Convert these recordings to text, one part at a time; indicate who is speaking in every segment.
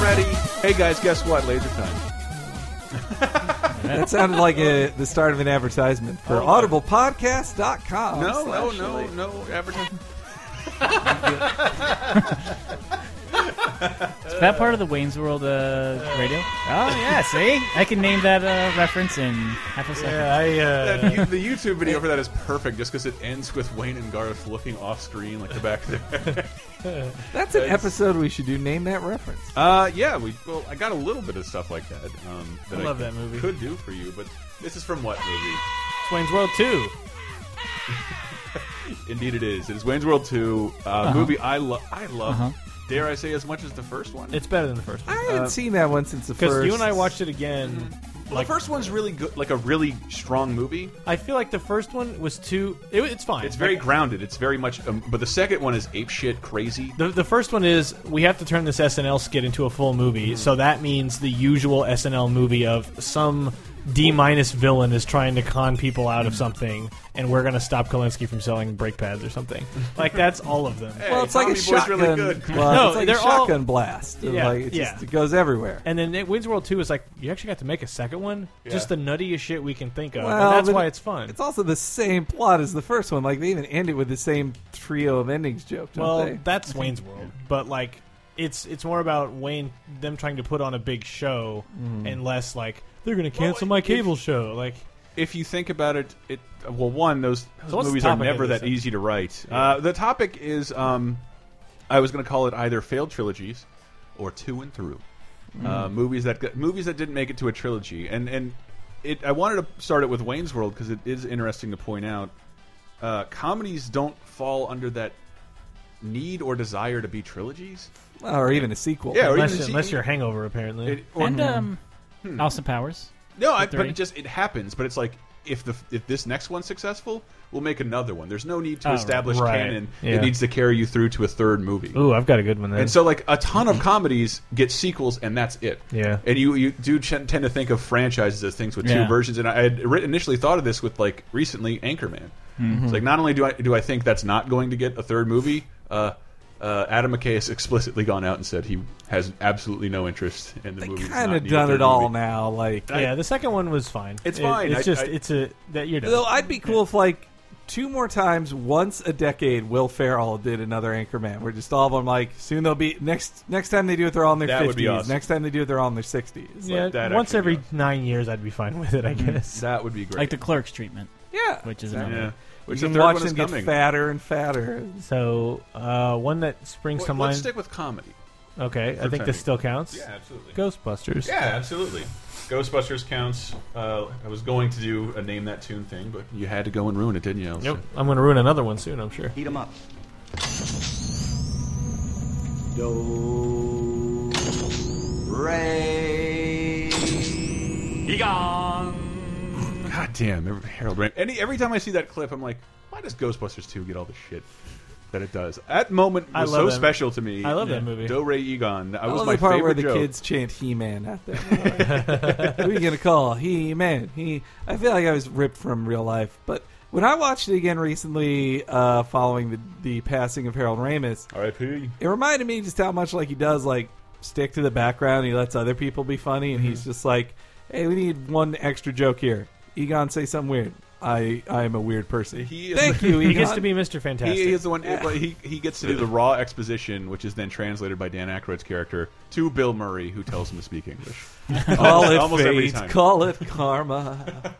Speaker 1: Hey guys, guess what? Laser time.
Speaker 2: That sounded like a, the start of an advertisement
Speaker 3: Oh,
Speaker 2: for audiblepodcast.com.
Speaker 1: No, no, no, no advertising.
Speaker 4: Is that part of the Wayne's World uh, radio? Oh yeah, see, I can name that uh, reference in half a second.
Speaker 3: Yeah, I, uh,
Speaker 1: That, you- the YouTube video for that is perfect, just because it ends with Wayne and Garth looking off screen, like the back there.
Speaker 2: That's an episode we should do. Name that reference.
Speaker 1: Uh, yeah, we. Well, I got a little bit of stuff like that. Um, that
Speaker 3: I love
Speaker 1: could-
Speaker 3: that movie.
Speaker 1: Could do for you, but this is from what movie?
Speaker 3: it's Wayne's World 2.
Speaker 1: Indeed, it is. It is Wayne's World Two, uh,
Speaker 3: Uh-huh.
Speaker 1: movie I love. I love. Dare I say as much as the first one?
Speaker 3: It's better than the first
Speaker 2: I
Speaker 3: one.
Speaker 2: haven't seen that one since the
Speaker 3: Uh, Because
Speaker 2: first.
Speaker 3: you and I watched it again.
Speaker 1: Well, the first one's really good, like a really strong movie.
Speaker 3: I feel like the first one was too. It, it's fine.
Speaker 1: It's very
Speaker 3: Like,
Speaker 1: grounded. It's very much. Um, but the second one is ape shit crazy.
Speaker 3: The, the first one is we have to turn this SNL skit into a full movie,
Speaker 2: Mm-hmm.
Speaker 3: so that means the usual SNL movie of some D minus villain is trying to con people out of
Speaker 2: Mm-hmm.
Speaker 3: something, and we're going to stop Kolinsky from selling brake pads or something. Like that's all of them.
Speaker 1: Hey,
Speaker 2: Well, it's like
Speaker 1: Tommy
Speaker 2: a
Speaker 1: Boy's
Speaker 2: shotgun.
Speaker 1: really good.
Speaker 2: Well,
Speaker 3: No,
Speaker 2: it's like
Speaker 3: they're
Speaker 2: a
Speaker 3: all-
Speaker 2: shotgun blast. It,
Speaker 3: Yeah,
Speaker 2: like, it
Speaker 3: yeah.
Speaker 2: just it goes everywhere.
Speaker 3: And then it, Wayne's World Two is like you actually got to make a second one, just the nuttiest shit we can think of.
Speaker 2: Well,
Speaker 3: and that's
Speaker 2: but
Speaker 3: why
Speaker 2: it-
Speaker 3: it's fun.
Speaker 2: It's also the same plot as the first one. Like they even end it with the same trio of endings joke. Don't
Speaker 3: well,
Speaker 2: they?
Speaker 3: that's Wayne's World, but like it's it's more about Wayne them trying to put on a big show,
Speaker 1: Mm.
Speaker 3: and less like they're going to cancel my cable show. Like
Speaker 1: if you think about it, it well, one those, those
Speaker 3: So what's the
Speaker 1: movies are
Speaker 3: topic of
Speaker 1: never
Speaker 3: this
Speaker 1: that
Speaker 3: then?
Speaker 1: easy to write. Uh, the topic is, um, I was going to call it either failed trilogies or two and through
Speaker 3: Mm.
Speaker 1: uh, movies that got- movies that didn't make it to a trilogy, and and it. I wanted to start it with Wayne's World because it is interesting to point out uh, comedies don't fall under that need or desire to be trilogies.
Speaker 2: or even a sequel.
Speaker 1: Yeah, or
Speaker 3: unless,
Speaker 1: even-
Speaker 3: unless you're Hangover, apparently.
Speaker 1: It- or-
Speaker 4: and um, Austin Powers.
Speaker 1: No, I, but
Speaker 4: three.
Speaker 1: it just it happens. But it's like if the if this next one's successful, we'll make another one. There's no need to
Speaker 4: Oh,
Speaker 1: establish
Speaker 3: right.
Speaker 1: canon
Speaker 3: Yeah.
Speaker 1: that needs to carry you through to a third movie.
Speaker 3: Ooh, I've got a good one then.
Speaker 1: And so, like a ton of comedies get sequels, and that's it.
Speaker 3: Yeah.
Speaker 1: And you you do ch- tend to think of franchises as things with
Speaker 4: Yeah.
Speaker 1: two versions. And I had ri- initially thought of this with like recently Anchorman. It's like not only do I do I think that's not going to get a third movie. Uh, uh, Adam McKay has explicitly gone out and said he has absolutely no interest in the
Speaker 2: they
Speaker 1: movie.
Speaker 2: kind of done it all now. Like
Speaker 3: yeah, the second one was fine.
Speaker 1: It's
Speaker 3: It-
Speaker 1: fine.
Speaker 3: It's
Speaker 1: I-
Speaker 3: just
Speaker 1: I-
Speaker 3: it's a that you're done.
Speaker 2: Though I'd be cool if like two more times, once a decade, Will Ferrell did another Anchorman. Where just all of them like soon they'll be next next time they do it, they're all in their
Speaker 1: That would be
Speaker 2: fifties.
Speaker 1: awesome.
Speaker 2: Next time they do it, they're all in their sixties.
Speaker 3: yeah,
Speaker 1: that
Speaker 3: once
Speaker 1: actually Mm-hmm.
Speaker 3: every
Speaker 1: goes.
Speaker 3: nine years, I'd be fine with it. I guess.
Speaker 1: That would be great.
Speaker 4: like the clerks treatment,
Speaker 2: yeah,
Speaker 4: which is
Speaker 2: Exactly.
Speaker 4: another.
Speaker 1: Yeah. Which
Speaker 2: you
Speaker 1: the
Speaker 2: can
Speaker 1: third
Speaker 2: watch
Speaker 1: one
Speaker 2: them
Speaker 1: is
Speaker 2: get
Speaker 1: coming.
Speaker 2: fatter and fatter.
Speaker 3: So uh, one that springs
Speaker 1: Well,
Speaker 3: to
Speaker 1: let's
Speaker 3: mind.
Speaker 1: stick with comedy.
Speaker 3: okay, I
Speaker 1: for
Speaker 3: think
Speaker 1: timing.
Speaker 3: this still counts.
Speaker 1: absolutely.
Speaker 3: Ghostbusters.
Speaker 1: yeah, absolutely. Ghostbusters counts. Uh, I was going to do a name that tune thing, but you had to go and ruin it, didn't you? Elsa?
Speaker 3: Nope. I'm going to ruin another one soon. I'm sure.
Speaker 5: Eat 'em up.
Speaker 6: Do re
Speaker 1: God damn, every, Harold Ramis. Any every time I see that clip, I'm like, why does Ghostbusters two get all the shit that it does? That moment
Speaker 3: I
Speaker 1: was
Speaker 3: love
Speaker 1: so
Speaker 3: that-
Speaker 1: special to me.
Speaker 3: I love that movie.
Speaker 1: Do Ray Egon. That
Speaker 2: I
Speaker 1: was
Speaker 2: love
Speaker 1: my
Speaker 2: the part
Speaker 1: favorite
Speaker 2: where the
Speaker 1: joke.
Speaker 2: kids chant "He-Man" at them. Who are you gonna call He-Man? He. I feel like I was ripped from real life, but when I watched it again recently, uh, following the the passing of Harold Ramis,
Speaker 1: R.I.P.
Speaker 2: it reminded me just how much like he does like stick to the background. He lets other people be funny, and
Speaker 3: Mm-hmm.
Speaker 2: he's just like, "Hey, we need one extra joke here." Egon, say something weird. I I am a weird person.
Speaker 1: He is-
Speaker 2: Thank you. Egon.
Speaker 3: He gets to be Mr. Fantastic.
Speaker 1: He is the one. He he gets to do the raw exposition, which is then translated by Dan Aykroyd's character to Bill Murray, who tells him to speak English.
Speaker 2: Call it
Speaker 1: Almost
Speaker 2: fate.
Speaker 1: every time.
Speaker 2: Call it karma.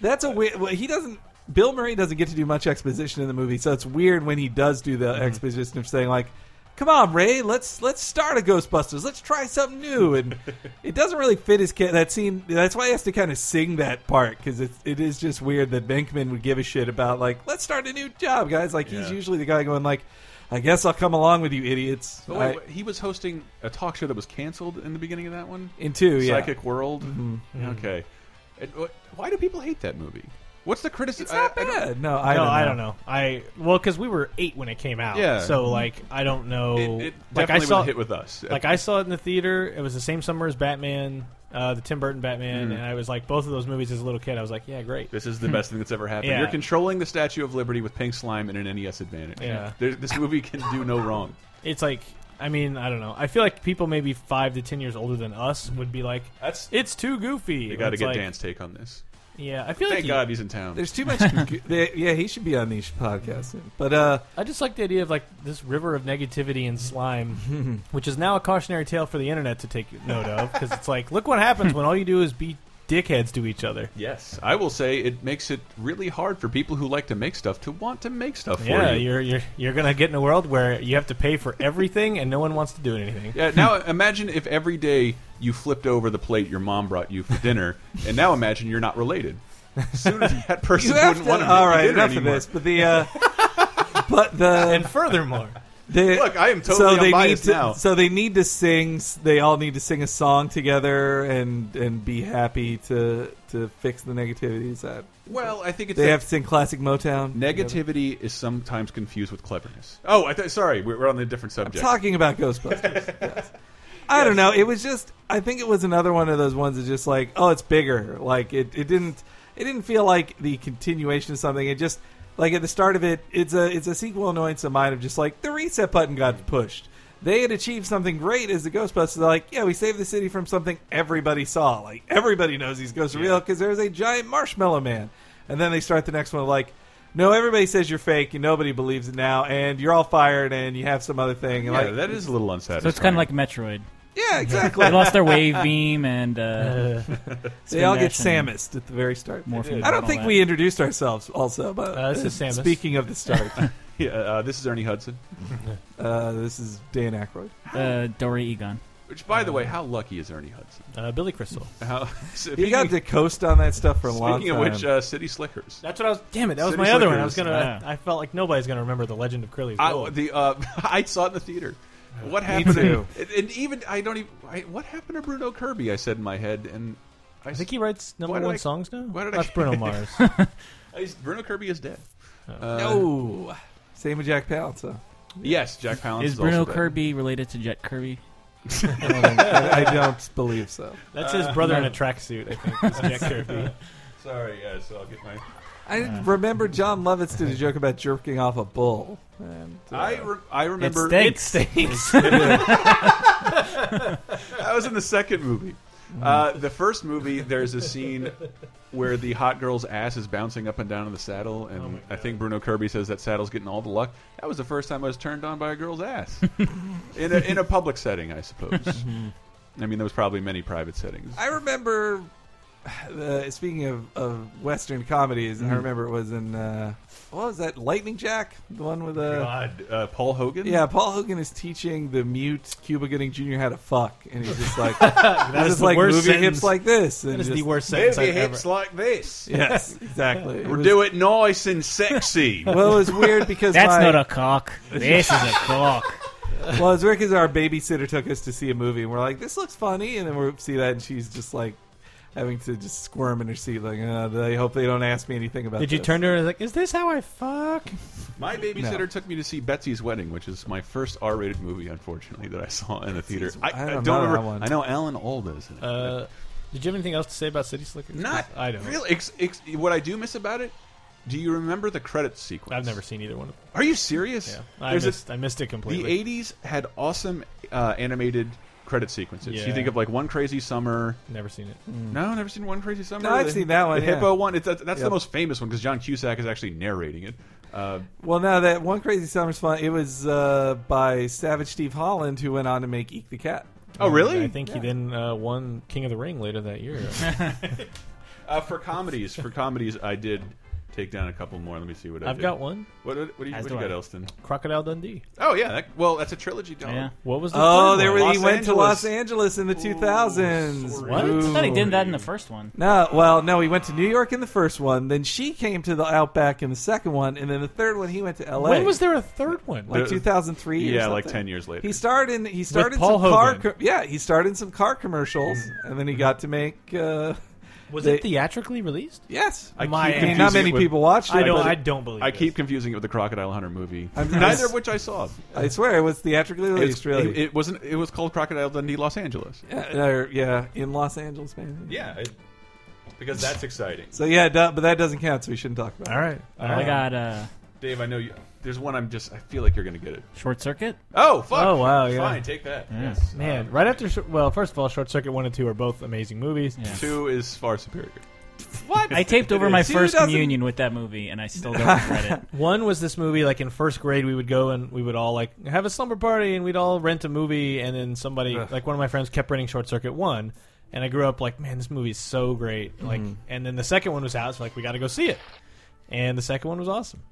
Speaker 2: That's a weird. Well, he doesn't. Bill Murray doesn't get to do much exposition in the movie, so it's weird when he does do
Speaker 1: Mm-hmm.
Speaker 2: the exposition of saying like, "Come on, Ray, let's let's start a Ghostbusters. Let's try something new." And it doesn't really fit his ca- that scene. That's why he has to kind of sing that part because it it is just weird that Venkman would give a shit about like, "Let's start a new job, guys." Like he's
Speaker 1: Yeah.
Speaker 2: usually the guy going like, "I guess I'll come along with you, idiots."
Speaker 1: But wait,
Speaker 2: I-
Speaker 1: he was hosting a talk show that was canceled in the beginning of that one.
Speaker 2: in
Speaker 3: Oh,
Speaker 2: two, yeah. Mm.
Speaker 1: Psychic World.
Speaker 3: Mm-hmm.
Speaker 1: Okay. And wh- why do people hate that movie? What's the criticism?
Speaker 2: It's not
Speaker 1: I- I don't-
Speaker 2: bad. no, I
Speaker 3: no,
Speaker 2: don't
Speaker 3: I don't know. I well, because we were eight when it came out.
Speaker 1: Yeah.
Speaker 3: So like, I don't know.
Speaker 1: it, it
Speaker 3: Oh, like
Speaker 1: definitely
Speaker 3: I
Speaker 1: was
Speaker 3: saw
Speaker 1: a hit with us.
Speaker 3: like I saw it in the theater. It was the same summer as Batman, uh, the Tim Burton
Speaker 1: Mm.
Speaker 3: Batman, and I was like both of those movies as a little kid. I was like, yeah, great.
Speaker 1: this is the best thing that's ever happened.
Speaker 3: hmm. Yeah.
Speaker 1: You're controlling the Statue of Liberty with pink slime and an NES E advantage.
Speaker 3: Yeah.
Speaker 1: There, this movie can do no wrong.
Speaker 3: It's like I mean, I don't know. I feel like people maybe five to ten years older than us would be like,
Speaker 1: That's
Speaker 3: "It's too goofy."
Speaker 1: you got to
Speaker 3: It's
Speaker 1: get
Speaker 3: like-
Speaker 1: Dan's take on this.
Speaker 3: Yeah, I feel like
Speaker 1: Thank
Speaker 3: he-
Speaker 1: God he's in town.
Speaker 2: There's too much. there- yeah, he should be on these podcasts. But uh,
Speaker 3: I just like the idea of like this river of negativity and slime, which is now a cautionary tale for the internet to take note of because it's like, look what happens when all you do is be dickheads to each other.
Speaker 1: Yes, I will say it makes it really hard for people who like to make stuff to want to make stuff for
Speaker 3: yeah,
Speaker 1: you.
Speaker 3: are you're you're gonna get in a world where you have to pay for everything and no one wants to do anything.
Speaker 1: Yeah, now imagine if every day you flipped over the plate your mom brought you for dinner, and now imagine you're not related. Soon as that person
Speaker 2: you have
Speaker 1: wouldn't
Speaker 2: to.
Speaker 1: want to
Speaker 2: All right,
Speaker 1: dinner
Speaker 2: enough
Speaker 1: anymore.
Speaker 2: of this. But the uh, but the,
Speaker 3: And furthermore,
Speaker 2: the
Speaker 1: Look, I am totally
Speaker 2: so they need
Speaker 1: unbiased
Speaker 2: to,
Speaker 1: now.
Speaker 2: So they need to sing. They all need to sing a song together and and be happy to to fix the negativity. Is that
Speaker 1: Well, I think it's
Speaker 2: they
Speaker 1: that
Speaker 2: have to sing classic Motown? together?
Speaker 1: negativity is sometimes confused with cleverness. Oh, I th sorry, we're, we're on a different
Speaker 2: I'm
Speaker 1: subject.
Speaker 2: talking about Ghostbusters. Yes. I don't know. It was just. I think it was another one of those ones that's just like, oh, it's bigger. Like it. It didn't. It didn't feel like the continuation of something. It just like at the start of it, it's a it's a sequel annoyance of mine of just like the reset button got pushed. They had achieved something great as the Ghostbusters. They're like, yeah, we saved the city from something everybody saw. Like everybody knows these ghosts are real because there's a giant marshmallow man. And then they start the next one like, no, everybody says you're fake and nobody believes it now, and you're all fired and you have some other thing.
Speaker 1: Yeah,
Speaker 2: And like,
Speaker 1: that is a little unsatisfying.
Speaker 4: So it's kind of like Metroid.
Speaker 2: yeah, exactly.
Speaker 4: They lost their wave beam and uh,
Speaker 2: They all get
Speaker 4: Spin Dash
Speaker 2: Samus at the very start.
Speaker 4: Morphin
Speaker 2: I
Speaker 4: and
Speaker 2: don't
Speaker 4: all
Speaker 2: think
Speaker 4: that.
Speaker 2: we introduced ourselves. Also, but
Speaker 3: Uh, this is Samus.
Speaker 2: Speaking of the start,
Speaker 1: Yeah, uh, this is Ernie Hudson.
Speaker 2: uh, this is Dan Aykroyd.
Speaker 4: and uh, Dory Egon.
Speaker 1: Which, by
Speaker 2: Uh,
Speaker 1: the way, how lucky is Ernie Hudson?
Speaker 3: uh, Billy Crystal.
Speaker 1: How,
Speaker 2: He got to coast on that stuff for a long
Speaker 1: speaking
Speaker 2: time.
Speaker 1: of which, uh, City Slickers.
Speaker 3: That's what I was. Damn it, that was
Speaker 1: City
Speaker 3: my other one. I was
Speaker 1: Slickers.
Speaker 3: gonna.
Speaker 4: Yeah.
Speaker 3: I, I felt like nobody's gonna remember the Legend of Curly's
Speaker 1: I,
Speaker 3: Gold.
Speaker 1: the uh, I saw it in the theater. What happened?
Speaker 2: too.
Speaker 1: And, and even I don't even. I, what happened to Bruno Kirby? I said in my head, and I,
Speaker 3: I think he writes
Speaker 1: Why
Speaker 3: number
Speaker 1: did
Speaker 3: one
Speaker 1: I-
Speaker 3: songs now.
Speaker 1: why did I-
Speaker 3: That's Bruno Mars.
Speaker 1: he's- Bruno Kirby is dead.
Speaker 3: Oh.
Speaker 1: Uh,
Speaker 2: no, same with Jack Palance.
Speaker 1: Yes, Jack Palance
Speaker 4: Is
Speaker 1: is
Speaker 4: Bruno
Speaker 1: also dead.
Speaker 4: Kirby related to Jet Kirby?
Speaker 2: I, I don't believe so.
Speaker 3: That's his brother in a tracksuit. I think. is Jack Kirby.
Speaker 1: Sorry, yes, I'll get my.
Speaker 2: I remember John Lovitz did a joke about jerking off a bull. And, uh,
Speaker 1: I re- I
Speaker 4: It
Speaker 1: remember
Speaker 4: stinks.
Speaker 1: that was in the second movie.
Speaker 2: Mm.
Speaker 1: Uh, the first movie, there's a scene where the hot girl's ass is bouncing up and down on the saddle,
Speaker 2: Oh
Speaker 1: and I think Bruno Kirby says that saddle's getting all the luck. That was the first time I was turned on by a girl's ass in a, in a public setting, I suppose.
Speaker 2: Mm-hmm.
Speaker 1: I mean, there was probably many private settings.
Speaker 2: I remember. Uh, speaking of, of Western comedies,
Speaker 3: Mm-hmm.
Speaker 2: I remember it was in uh, what was that Lightning Jack, the one with uh,
Speaker 1: God, uh, Paul Hogan.
Speaker 2: Yeah, Paul Hogan is teaching the mute Cuba Gooding Jr. how to fuck, and he's just like, that
Speaker 3: is
Speaker 2: is
Speaker 3: the
Speaker 2: like
Speaker 3: worst
Speaker 2: move your
Speaker 3: sentence.
Speaker 2: hips like this. And
Speaker 3: That is the
Speaker 2: just-
Speaker 3: worst sentence I've ever.
Speaker 1: like this.
Speaker 2: Yes, exactly. It was-
Speaker 1: Do it nice and sexy.
Speaker 2: Well, it was weird because
Speaker 4: That's
Speaker 2: my,
Speaker 4: not a cock. This is a cock.
Speaker 2: well, it was weird because our babysitter took us to see a movie, and we're like, this looks funny, and then we see that, and she's just like having to just squirm in her seat, like, uh, they hope they don't ask me anything about.
Speaker 3: Did you
Speaker 2: this.
Speaker 3: turn to her and like, is this how I fuck?
Speaker 1: My babysitter
Speaker 2: No.
Speaker 1: took me to see Betsy's Wedding, which is my first R-rated movie, unfortunately, that I saw in the theater. I,
Speaker 2: I
Speaker 1: I
Speaker 2: don't
Speaker 1: don't
Speaker 2: know
Speaker 1: remember.
Speaker 2: that one.
Speaker 1: I know Alan Alda is in it.
Speaker 3: Uh, did you have anything else to say about City Slickers?
Speaker 1: Not
Speaker 3: I don't.
Speaker 1: really. Ex, ex, what I do miss about it. Do you remember the credits sequence?
Speaker 3: I've never seen either one of them.
Speaker 1: Are you serious?
Speaker 3: Yeah, I
Speaker 1: There's a-
Speaker 3: missed. I missed it
Speaker 1: the
Speaker 3: completely.
Speaker 1: '80s had awesome uh, animated credit sequences. You
Speaker 3: Yeah.
Speaker 1: think of like One Crazy Summer.
Speaker 3: Never seen it.
Speaker 1: No, never seen One Crazy Summer.
Speaker 2: Hmm. No, I've
Speaker 1: The-
Speaker 2: seen that one,
Speaker 1: The
Speaker 2: yeah.
Speaker 1: hippo one. It's, that's that's
Speaker 2: Yep.
Speaker 1: the most famous one because John Cusack is actually narrating it. Uh,
Speaker 2: Well, now that one crazy summer's fun. It was uh, by Savage Steve Holland, who went on to make Eek the Cat.
Speaker 1: oh, really?
Speaker 3: I think he then uh, won King of the Ring later that year.
Speaker 1: Uh, for comedies, for comedies, I did take down a couple more. Let me see what I
Speaker 3: I've
Speaker 1: did.
Speaker 3: got one.
Speaker 1: What, what, what do you,
Speaker 4: As
Speaker 1: what
Speaker 4: do
Speaker 1: you got,
Speaker 4: I.
Speaker 1: Elston?
Speaker 3: Crocodile Dundee.
Speaker 1: Oh yeah, that, well that's a trilogy. Dog.
Speaker 4: Yeah.
Speaker 3: What was the
Speaker 2: Oh,
Speaker 3: third
Speaker 2: there
Speaker 3: one?
Speaker 2: was, he
Speaker 1: Los
Speaker 2: went to
Speaker 1: Angeles.
Speaker 2: Los Angeles in the 2000s.
Speaker 1: sorry.
Speaker 4: What? I thought he did that in the first one.
Speaker 2: No, well, no, he went to New York in the first one. Then she came to the Outback in the second one, and then the third one he went to L.A.
Speaker 3: When was there a third one?
Speaker 2: like
Speaker 1: The-
Speaker 2: 2003?
Speaker 1: Yeah,
Speaker 2: or
Speaker 1: like
Speaker 2: something.
Speaker 1: ten years later.
Speaker 2: He started in he started in
Speaker 3: Paul
Speaker 2: some car.
Speaker 3: Hogan.
Speaker 2: co- yeah, he started in some car commercials, and then he got to make. Uh,
Speaker 3: was
Speaker 2: they-
Speaker 3: it theatrically released?
Speaker 2: yes,
Speaker 1: I keep
Speaker 3: My-
Speaker 2: I mean,
Speaker 1: confusing
Speaker 2: not many
Speaker 1: it with-
Speaker 2: people watched it.
Speaker 3: I don't.
Speaker 2: but
Speaker 3: I don't believe.
Speaker 1: I
Speaker 3: this.
Speaker 1: keep confusing it with the Crocodile Hunter movie.
Speaker 2: I'm-
Speaker 1: Neither of which I saw.
Speaker 2: I swear it was theatrically released.
Speaker 1: It's-
Speaker 2: really,
Speaker 1: It, it wasn't. It was called Crocodile Dundee, Los Angeles.
Speaker 2: Uh, or, yeah, in Los Angeles, maybe.
Speaker 1: Yeah, it, because that's exciting.
Speaker 4: Oh
Speaker 3: Ah.
Speaker 2: So yeah, duh, but that doesn't count, so we shouldn't talk about. it.
Speaker 3: All right.
Speaker 4: I got uh,
Speaker 1: Dave, I know you. There's one I'm just. I feel like you're gonna get it.
Speaker 4: Short Circuit.
Speaker 1: Oh fuck!
Speaker 2: Oh, wow, yeah.
Speaker 1: Fine, take that. Yes, Uh,
Speaker 3: Man, right after Sh- well, first of all, Short Circuit One and Two are both amazing movies.
Speaker 1: two is far superior.
Speaker 2: What?
Speaker 4: I taped over my
Speaker 2: Two
Speaker 4: first
Speaker 2: doesn't-
Speaker 4: communion with that movie, and I still don't regret it.
Speaker 3: One was this movie like in first grade we would go and we would all like have a slumber party and we'd all rent a movie and then somebody
Speaker 1: Ugh.
Speaker 3: like one of my friends kept renting Short Circuit One and I grew up like man this movie is so great like and then the second one was out so like we got to go see it and the second one was awesome.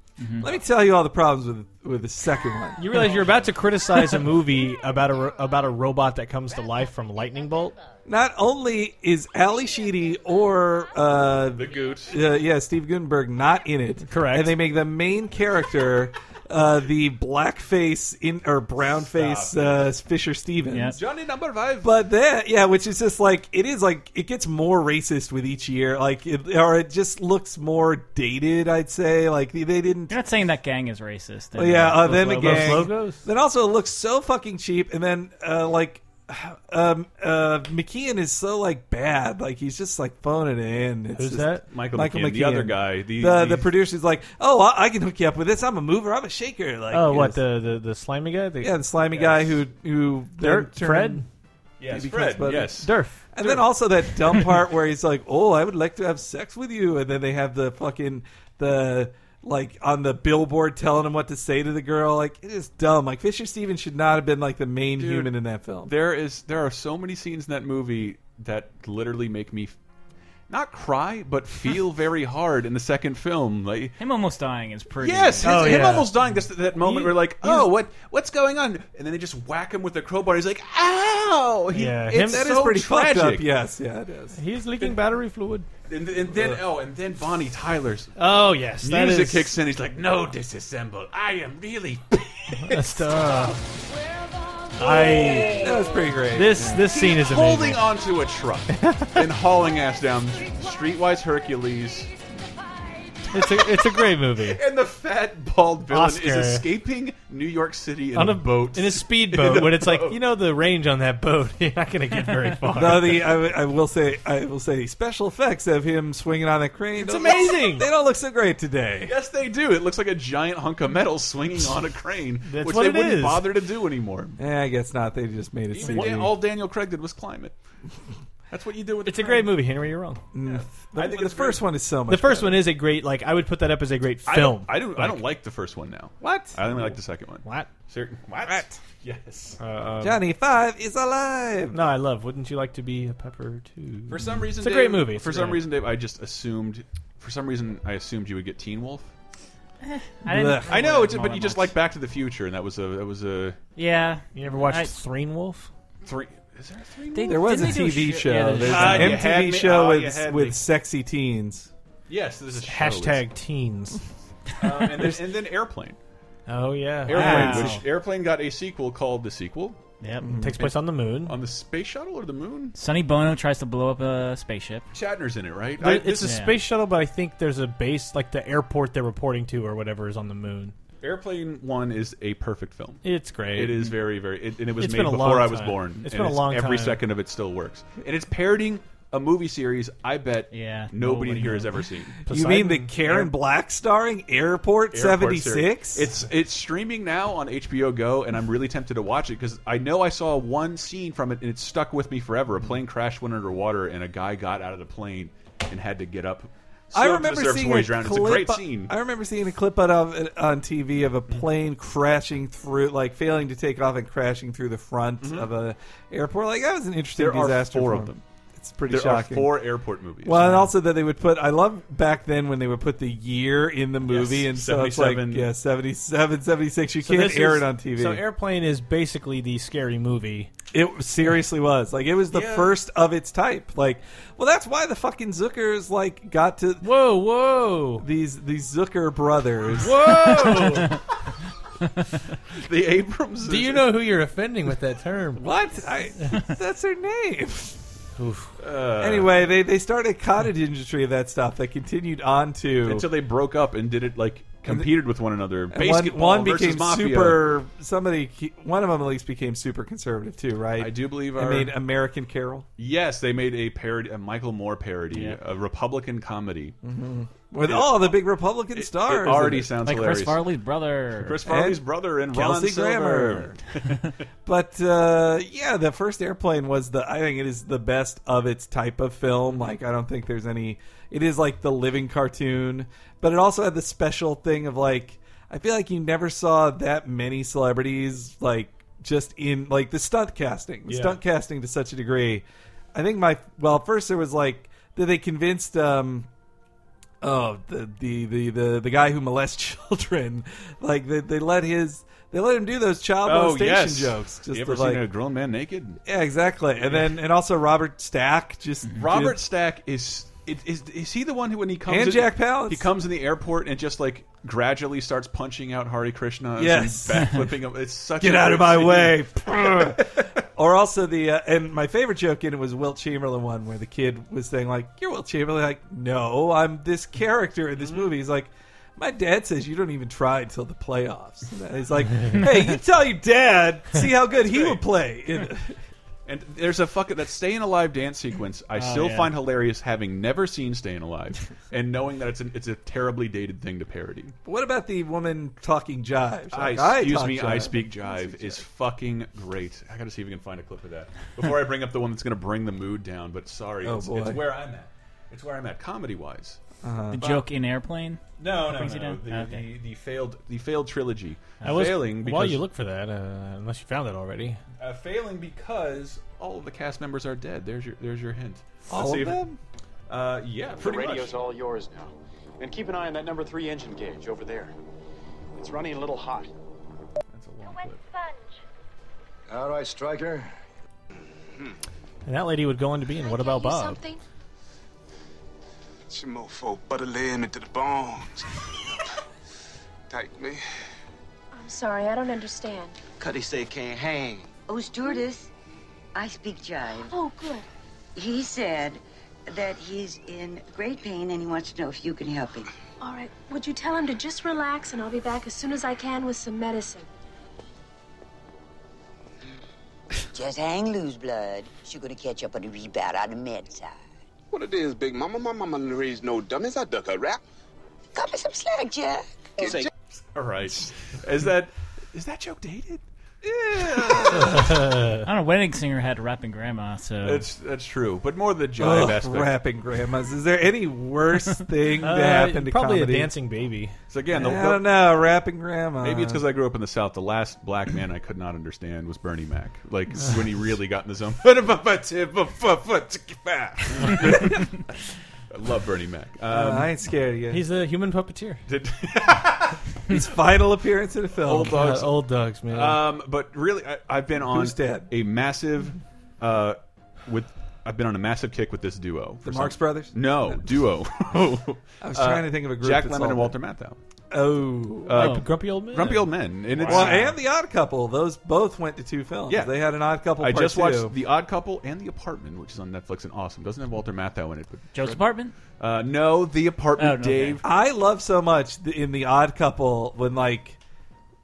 Speaker 2: Let me tell you all the problems with with the second one.
Speaker 3: You realize you're about to criticize a movie about a ro- about a robot that comes to life from lightning bolt.
Speaker 2: Not only is Ali Sheedy or uh,
Speaker 1: The Goot.
Speaker 2: uh, yeah Steve Gutenberg not in it,
Speaker 3: Correct.
Speaker 2: and they make the main character. Uh, the blackface in or brownface
Speaker 1: Stop.
Speaker 2: uh, Fisher Stevens,
Speaker 4: Yeah.
Speaker 1: Johnny number five.
Speaker 2: But that, yeah, which is just like it is like it gets more racist with each year, like it, or it just looks more dated. I'd say like they they didn't.
Speaker 4: You're not saying that gang is racist.
Speaker 2: Oh, yeah, uh,
Speaker 4: Those
Speaker 2: then the
Speaker 4: logos.
Speaker 2: gang.
Speaker 3: logos?
Speaker 2: Then also it looks so fucking cheap, and then uh, like. Um, uh, McKeon is so like bad, like he's just like phoning it in. It's
Speaker 3: Who's
Speaker 2: just-
Speaker 3: that?
Speaker 1: Michael McKeon, the other guy, the-
Speaker 2: the,
Speaker 1: the-
Speaker 2: the producer's like, oh, I, I can hook you up with this. I'm a mover, I'm a shaker. Like,
Speaker 3: Oh,
Speaker 2: it
Speaker 3: what
Speaker 2: was-
Speaker 3: the, the the slimy guy? The
Speaker 2: yeah, the slimy guy who who then
Speaker 3: Dirk
Speaker 2: turned-
Speaker 3: Fred
Speaker 1: yes,
Speaker 2: He becomes
Speaker 1: Fred.
Speaker 2: Buddy.
Speaker 1: Yes,
Speaker 3: Durf.
Speaker 2: And then also that dumb part where he's like, "Oh, I would like to have sex with you," and then they have the fucking the like on the billboard telling him what to say to the girl. Like it is dumb. Like Fisher Stevens should not have been like the main
Speaker 1: Dude,
Speaker 2: human in that film.
Speaker 1: there is there are so many scenes in that movie that literally make me f- not cry but feel very hard in the second film like
Speaker 4: Him almost dying is pretty.
Speaker 1: Yes, his,
Speaker 3: Oh,
Speaker 1: him
Speaker 3: yeah.
Speaker 1: almost dying. That's that moment
Speaker 3: He-
Speaker 1: where like, oh, what what's going on? And then they just whack him with the crowbar. He's like, ow! He,
Speaker 3: Yeah, him-
Speaker 1: it's
Speaker 2: That is
Speaker 1: so
Speaker 2: pretty
Speaker 1: tragic.
Speaker 2: fucked up. Yes, yeah, it is.
Speaker 3: He's leaking battery fluid.
Speaker 1: And, and then oh, and then Bonnie Tyler's
Speaker 3: Oh yes, that
Speaker 1: music
Speaker 3: is-
Speaker 1: kicks in. He's like, no, disassemble. I am really.
Speaker 3: That's, uh, I
Speaker 2: That was pretty great.
Speaker 3: this this scene is
Speaker 1: holding
Speaker 3: amazing.
Speaker 1: onto a truck and hauling ass down streetwise Hercules.
Speaker 3: It's a it's a great movie
Speaker 1: And the fat bald villain
Speaker 3: Oscar.
Speaker 1: is escaping New York City in
Speaker 3: on
Speaker 1: a, boat.
Speaker 3: in a speedboat when it's like you know the range on that boat you're not gonna get very far.
Speaker 2: Though the I, w- I will say I will say the special effects of him swinging on the crane. It's
Speaker 3: amazing!
Speaker 2: They don't look so great today.
Speaker 1: yes, they do. It looks like a giant hunk of metal swinging on a crane,
Speaker 3: That's
Speaker 1: which
Speaker 3: what
Speaker 1: they
Speaker 3: it
Speaker 1: wouldn't
Speaker 3: is.
Speaker 1: bother to do anymore.
Speaker 2: Eh, I guess not. They just made it
Speaker 1: Even
Speaker 2: CG.
Speaker 1: Dan- all Daniel Craig did was climb it. That's what you do with.
Speaker 3: It's a great movie, Henry. You're wrong.
Speaker 2: Mm. The,
Speaker 1: I think
Speaker 2: the
Speaker 1: it's
Speaker 2: first
Speaker 1: great.
Speaker 2: one is so much.
Speaker 3: The first
Speaker 2: better.
Speaker 3: one is a great like I would put that up as a great
Speaker 1: I
Speaker 3: film.
Speaker 1: Don't, I don't. I don't like the first one now.
Speaker 2: What?
Speaker 1: I only like the second one.
Speaker 3: What?
Speaker 1: Ser- what?
Speaker 2: What?
Speaker 1: Yes.
Speaker 3: Uh, um,
Speaker 2: Johnny Five is alive.
Speaker 3: no, I love. Wouldn't you like to be a pepper too?
Speaker 1: For some reason,
Speaker 3: It's a
Speaker 1: Dave-
Speaker 3: great movie. It's
Speaker 1: For
Speaker 3: a
Speaker 1: some
Speaker 3: great-
Speaker 1: reason, Dave, I just assumed. For some reason, I assumed you would get Teen Wolf.
Speaker 4: I, didn't-
Speaker 2: Blech.
Speaker 1: I know, it's,
Speaker 4: all
Speaker 1: but
Speaker 4: that
Speaker 1: you just
Speaker 4: much.
Speaker 1: like Back to the Future, and that was a that was a
Speaker 4: Yeah.
Speaker 3: You ever watched
Speaker 4: I-
Speaker 3: Threen Wolf?
Speaker 1: three. Is there a three?
Speaker 4: They-
Speaker 2: There was a
Speaker 4: didn't they do
Speaker 2: TV
Speaker 4: shit-
Speaker 2: show. Uh,
Speaker 4: yeah,
Speaker 2: There's
Speaker 1: Ah,
Speaker 2: an
Speaker 1: you had
Speaker 2: MTV
Speaker 1: me.
Speaker 2: show
Speaker 1: Ah, you
Speaker 2: with
Speaker 1: had
Speaker 2: with
Speaker 1: me.
Speaker 2: sexy teens.
Speaker 1: Yes, there's a show.
Speaker 3: Hashtag teens.
Speaker 1: Um, and, then, and then Airplane.
Speaker 3: Oh yeah,
Speaker 1: Airplane,
Speaker 4: Wow.
Speaker 1: which Airplane got a sequel called the sequel
Speaker 4: Yep.
Speaker 1: Mm-hmm.
Speaker 3: takes place on the moon.
Speaker 1: on the space shuttle or the moon.
Speaker 4: Sonny Bono tries to blow up a spaceship.
Speaker 1: Shatner's in it, right?
Speaker 3: There-
Speaker 1: I-
Speaker 3: it's a
Speaker 4: yeah.
Speaker 3: space shuttle, but I think there's a base, like the airport they're reporting to or whatever, is on the moon.
Speaker 1: Airplane One is a perfect film.
Speaker 3: It's great.
Speaker 1: It is very, very, it, and it was
Speaker 3: It's
Speaker 1: made
Speaker 3: been a
Speaker 1: before
Speaker 3: long
Speaker 1: I was
Speaker 3: time.
Speaker 1: born.
Speaker 3: It's
Speaker 1: and
Speaker 3: been a long
Speaker 1: Every
Speaker 3: time.
Speaker 1: second of it still works, and it's parroting a movie series. I bet
Speaker 4: Yeah,
Speaker 1: nobody in
Speaker 4: nobody
Speaker 1: here has
Speaker 4: knows.
Speaker 1: ever seen.
Speaker 2: You mean the Karen Black starring Airport
Speaker 1: Airport
Speaker 2: seventy
Speaker 1: series.
Speaker 2: six?
Speaker 1: It's it's streaming now on HBO Go, and I'm really tempted to watch it because I know I saw one scene from it, and it stuck with me forever. A
Speaker 2: Mm-hmm.
Speaker 1: plane crash went underwater, and a guy got out of the plane and had to get up.
Speaker 2: I
Speaker 1: still to the
Speaker 2: remember
Speaker 1: surface
Speaker 2: seeing
Speaker 1: before
Speaker 2: a
Speaker 1: he drowned.
Speaker 2: clip.
Speaker 1: It's a great scene. Mm-hmm.
Speaker 2: I remember seeing a clip out of it on TV of a plane crashing through, like failing to take off and crashing through the front of a airport. Like that was an interesting
Speaker 1: Mm-hmm. There are
Speaker 2: disaster.
Speaker 1: four
Speaker 2: for
Speaker 1: of
Speaker 2: them.
Speaker 1: them.
Speaker 2: It's pretty
Speaker 1: There
Speaker 2: shocking.
Speaker 1: are four airport movies.
Speaker 2: Well, and also that they would put. I love back then when they would put the year in the movie,
Speaker 1: Yes,
Speaker 2: and so it's like
Speaker 1: 77.
Speaker 2: yeah, 77, 76. You
Speaker 3: So
Speaker 2: can't
Speaker 3: this
Speaker 2: air
Speaker 3: is-
Speaker 2: it on TV.
Speaker 3: So airplane is basically the scary movie.
Speaker 2: it seriously was like it was the
Speaker 1: Yeah.
Speaker 2: first of its type. Like, well, that's why the fucking Zookers like got to
Speaker 3: Whoa, whoa,
Speaker 2: these these Zooker brothers.
Speaker 3: whoa!
Speaker 1: the Abrams.
Speaker 3: Do you know who you're offending with that term?
Speaker 2: What? I, that's their name.
Speaker 1: Uh,
Speaker 2: anyway, they, they started a cottage industry of that stuff that continued on to
Speaker 1: until they broke up and did it like competed with one another.
Speaker 2: and one,
Speaker 1: Basketball
Speaker 2: one
Speaker 1: versus
Speaker 2: became
Speaker 1: mafia.
Speaker 2: super. Somebody, one of them at least became super conservative too, right?
Speaker 1: I do believe
Speaker 2: I um,
Speaker 1: our,
Speaker 2: made American Carol.
Speaker 1: yes, they made a parody, a Michael Moore parody, a Republican comedy
Speaker 2: with all the big Republican stars.
Speaker 1: It already
Speaker 2: in it.
Speaker 1: sounds
Speaker 4: Like
Speaker 1: hilarious.
Speaker 4: Chris Farley's brother.
Speaker 1: Chris Farley's
Speaker 2: And
Speaker 1: brother and
Speaker 2: Kelsey
Speaker 1: Ron Silver.
Speaker 2: Grammer. but uh, yeah, the first airplane was the. I think it is the best of its type of film. Like I don't think there's any. It is like the living cartoon, but it also had the special thing of like. I feel like you never saw that many celebrities like just in like the stunt casting, the
Speaker 3: Yeah.
Speaker 2: stunt casting to such a degree. I think my well first there was like that they convinced um oh the the the the, the guy who molests children like they, they let his they let him do those child
Speaker 1: Oh
Speaker 2: molestation
Speaker 1: yes,
Speaker 2: jokes just
Speaker 1: you ever
Speaker 2: to, like
Speaker 1: seen a grown man naked?
Speaker 2: yeah exactly and then and also Robert Stack just
Speaker 1: Mhm. Robert
Speaker 2: did-
Speaker 1: Stack is. Is, is, is he the one who when he comes
Speaker 2: And
Speaker 1: in,
Speaker 2: Jack Palance.
Speaker 1: he comes in the airport and just like gradually starts punching out Hari Krishna
Speaker 2: Yes.
Speaker 1: and backflipping him it's such
Speaker 2: get
Speaker 1: a
Speaker 2: out of
Speaker 1: weird
Speaker 2: my
Speaker 1: scene.
Speaker 2: way or also the uh, and my favorite joke in it was Wilt Chamberlain one where the kid was saying like you're Wilt Chamberlain like no I'm this
Speaker 1: Mm-hmm.
Speaker 2: character in this movie he's like my dad says you don't even try until the playoffs and he's like hey you tell your dad see how good he would play in-
Speaker 1: and there's a fucking that staying alive dance sequence I still
Speaker 3: yeah.
Speaker 1: find hilarious having never seen staying alive and knowing that it's an, it's a terribly dated thing to parody
Speaker 2: But what about the woman talking jive She's like,
Speaker 1: I, excuse
Speaker 2: talk
Speaker 1: me I
Speaker 2: jive."
Speaker 1: speak jive is fucking great I gotta see if we can find a clip of that before I bring up the one that's gonna bring the mood down but sorry
Speaker 2: Oh,
Speaker 1: it's,
Speaker 2: boy.
Speaker 1: it's where I'm at it's where I'm at comedy wise
Speaker 4: The uh, joke in airplane.
Speaker 1: No, no,
Speaker 4: brings
Speaker 1: no.
Speaker 4: you down?
Speaker 1: The,
Speaker 4: Okay.
Speaker 1: the, the failed the failed trilogy.
Speaker 3: I was
Speaker 1: failing because
Speaker 3: while you look for that, uh, unless you found it already.
Speaker 1: uh, failing because all of the cast members are dead. There's your there's your hint. Let's
Speaker 2: all
Speaker 1: see
Speaker 2: of
Speaker 1: if-
Speaker 2: them.
Speaker 1: Uh, yeah, pretty
Speaker 5: the radio's
Speaker 1: much.
Speaker 5: all yours now. And keep an eye on that number three engine gauge over there. It's running a little hot.
Speaker 1: That's a long
Speaker 6: Wet
Speaker 1: clip.
Speaker 6: sponge.
Speaker 7: All right, Stryker.
Speaker 3: And that lady would go on to be in What About Bob?
Speaker 6: Something?
Speaker 8: She mofo butter laying into the bones. Take me.
Speaker 6: I'm sorry, I don't understand.
Speaker 9: Cuddy say can't hang.
Speaker 10: Oh, stewardess, I speak jive.
Speaker 6: Oh, good.
Speaker 10: He said that he's in great pain and he wants to know if you can help him.
Speaker 6: All right, would you tell him to just relax and I'll be back as soon as I can with some medicine?
Speaker 10: Just hang loose, blood. She's gonna catch up on the rebound on the med side.
Speaker 8: What it is, big mama? My mama done raised no dummies. I duck her rap.
Speaker 10: Cut me some slack, Jack.
Speaker 1: All right, is that is that joke dated?
Speaker 3: Uh,
Speaker 4: I don't know. Wedding singer had a rapping grandma, so
Speaker 1: That's that's true, but more the jive
Speaker 2: Ugh,
Speaker 1: aspect.
Speaker 2: rapping grandmas. Is there any worse thing that
Speaker 3: uh,
Speaker 2: happened to
Speaker 3: probably
Speaker 2: comedy?
Speaker 3: a dancing baby.
Speaker 1: So again, the,
Speaker 2: I
Speaker 1: the-
Speaker 2: don't know. Rapping grandma.
Speaker 1: Maybe it's because I grew up in the South. The last black man I could not understand was Bernie Mac. Like when he really got in the zone. I love Bernie Mac.
Speaker 2: Uh,
Speaker 1: Um,
Speaker 2: I ain't scared of you.
Speaker 3: He's a human puppeteer.
Speaker 1: did-
Speaker 2: His final appearance in a film.
Speaker 1: Old dogs.
Speaker 3: Uh, old dogs, man.
Speaker 1: um, but really, I, I've been on
Speaker 2: Who's dead?
Speaker 1: a massive uh, with. I've been on a massive kick with this duo. for
Speaker 2: the Marx
Speaker 1: some-
Speaker 2: Brothers.
Speaker 1: No, duo. Uh,
Speaker 2: I was trying to think of a group.
Speaker 1: Jack
Speaker 2: that's
Speaker 1: Lemmon
Speaker 2: all
Speaker 1: and Uh,
Speaker 2: that-
Speaker 1: Walter Matthau.
Speaker 2: Oh,
Speaker 3: Grump-
Speaker 4: Oh.
Speaker 3: grumpy old man.
Speaker 1: Grumpy old men. And it's,
Speaker 2: well, and the Odd Couple. Those both went to two films.
Speaker 1: Yeah.
Speaker 2: they had an Odd Couple.
Speaker 1: I
Speaker 2: part
Speaker 1: just watched
Speaker 2: two.
Speaker 1: The Odd Couple and The Apartment, which is on Netflix and awesome. Doesn't have Walter Matthau in it, but
Speaker 4: Joe's apartment.
Speaker 1: Uh, no, the apartment,
Speaker 4: Oh, no,
Speaker 1: Dave.
Speaker 2: I love so much th- in the Odd Couple when like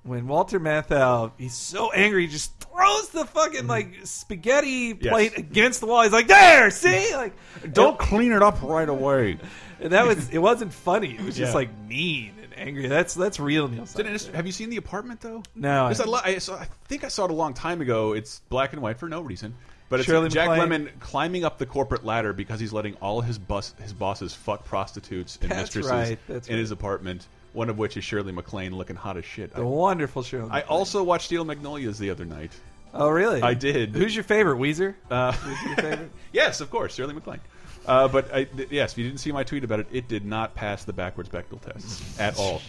Speaker 2: when Walter Matthau he's so angry he just throws the fucking like spaghetti
Speaker 1: Mm-hmm. Yes.
Speaker 2: plate against the wall. He's like, "There, see, like
Speaker 1: Don't clean it up right away.
Speaker 2: And that was it. Wasn't funny. It was just
Speaker 3: Yeah.
Speaker 2: like mean and angry. That's that's real Neil. Simon.
Speaker 1: Didn't it- have you seen the apartment though?
Speaker 2: No,
Speaker 1: It's
Speaker 2: I-
Speaker 1: a lo- I, saw, I think I saw it a long time ago. It's black and white for no reason. But it's
Speaker 2: Shirley
Speaker 1: Jack
Speaker 2: MacLaine.
Speaker 1: Lemmon climbing up the corporate ladder because he's letting all his bus his bosses fuck prostitutes and
Speaker 2: That's
Speaker 1: mistresses
Speaker 2: right, that's
Speaker 1: in
Speaker 2: right.
Speaker 1: his apartment. One of which is Shirley MacLaine looking hot as shit.
Speaker 2: The
Speaker 1: I,
Speaker 2: wonderful show.
Speaker 1: I also watched Steel Magnolias the other night.
Speaker 2: oh really?
Speaker 1: I did.
Speaker 2: Who's your favorite? Weezer.
Speaker 1: Uh,
Speaker 2: Who's your favorite?
Speaker 1: yes, of course, Shirley MacLaine. Uh, but I, th- yes, if you didn't see my tweet about it, it did not pass the backwards Bechdel test at all.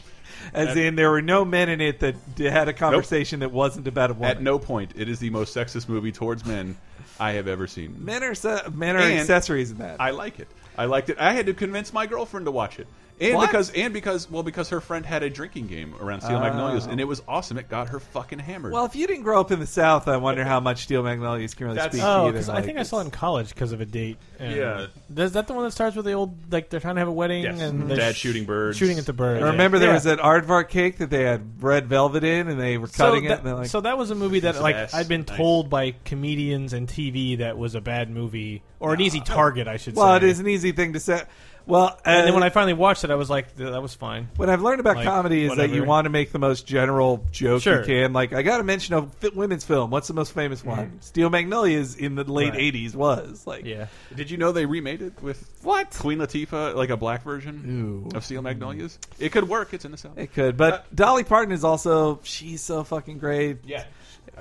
Speaker 2: As in, there were no men in it that d- had a conversation that wasn't about a woman.
Speaker 1: At no point, it is the most sexist movie towards men I have ever seen.
Speaker 2: men are se- men are
Speaker 1: And-
Speaker 2: accessories in that.
Speaker 1: I like it. I liked it. I had to convince my girlfriend to watch it, and
Speaker 2: What?
Speaker 1: because and because well because her friend had a drinking game around Steel Magnolias, and it was awesome. It got her fucking hammered.
Speaker 2: well, if you didn't grow up in the South, I wonder how much Steel Magnolias can really
Speaker 1: That's-
Speaker 2: speak to
Speaker 3: Oh,
Speaker 2: you.
Speaker 3: because
Speaker 2: They're
Speaker 3: I
Speaker 2: like,
Speaker 3: think I saw it in college because of a date. And
Speaker 1: Yeah.
Speaker 3: Is that the one that starts with the old, like, they're trying to have a wedding
Speaker 1: Yes.
Speaker 3: and they're
Speaker 1: Dad
Speaker 3: sh-
Speaker 1: shooting birds.
Speaker 3: Shooting at the birds.
Speaker 2: I remember there
Speaker 3: Yeah.
Speaker 2: was that aardvark cake that they had red velvet in, and they were
Speaker 3: So
Speaker 2: cutting it.
Speaker 3: that,
Speaker 2: And they're like,
Speaker 3: so that was a movie that
Speaker 1: Piece of
Speaker 3: like
Speaker 1: ass.
Speaker 3: I'd been
Speaker 1: Nice.
Speaker 3: told by comedians and TV that was a bad movie or an easy target I should
Speaker 2: well,
Speaker 3: say.
Speaker 2: it is an easy thing to say. Well, uh,
Speaker 3: And then when I finally watched it, I was like, "Th- that was fine.
Speaker 2: What I've learned about
Speaker 3: Like,
Speaker 2: comedy is that you
Speaker 3: whatever.
Speaker 2: want to make the most general joke
Speaker 3: Sure. Mm-hmm.
Speaker 2: you can. Like, I got to mention a fi- women's film. What's the most famous one? Steel Magnolias in the late
Speaker 3: Right.
Speaker 2: '80s was like,
Speaker 3: Yeah.
Speaker 1: Did you know they remade it with
Speaker 2: What?
Speaker 1: Queen Latifah, like a black version
Speaker 2: Ooh.
Speaker 1: of Steel Magnolias? It could work. It's in the South.
Speaker 2: It could,
Speaker 1: Uh,
Speaker 2: but Dolly Parton is also she's so fucking great.
Speaker 1: Yeah.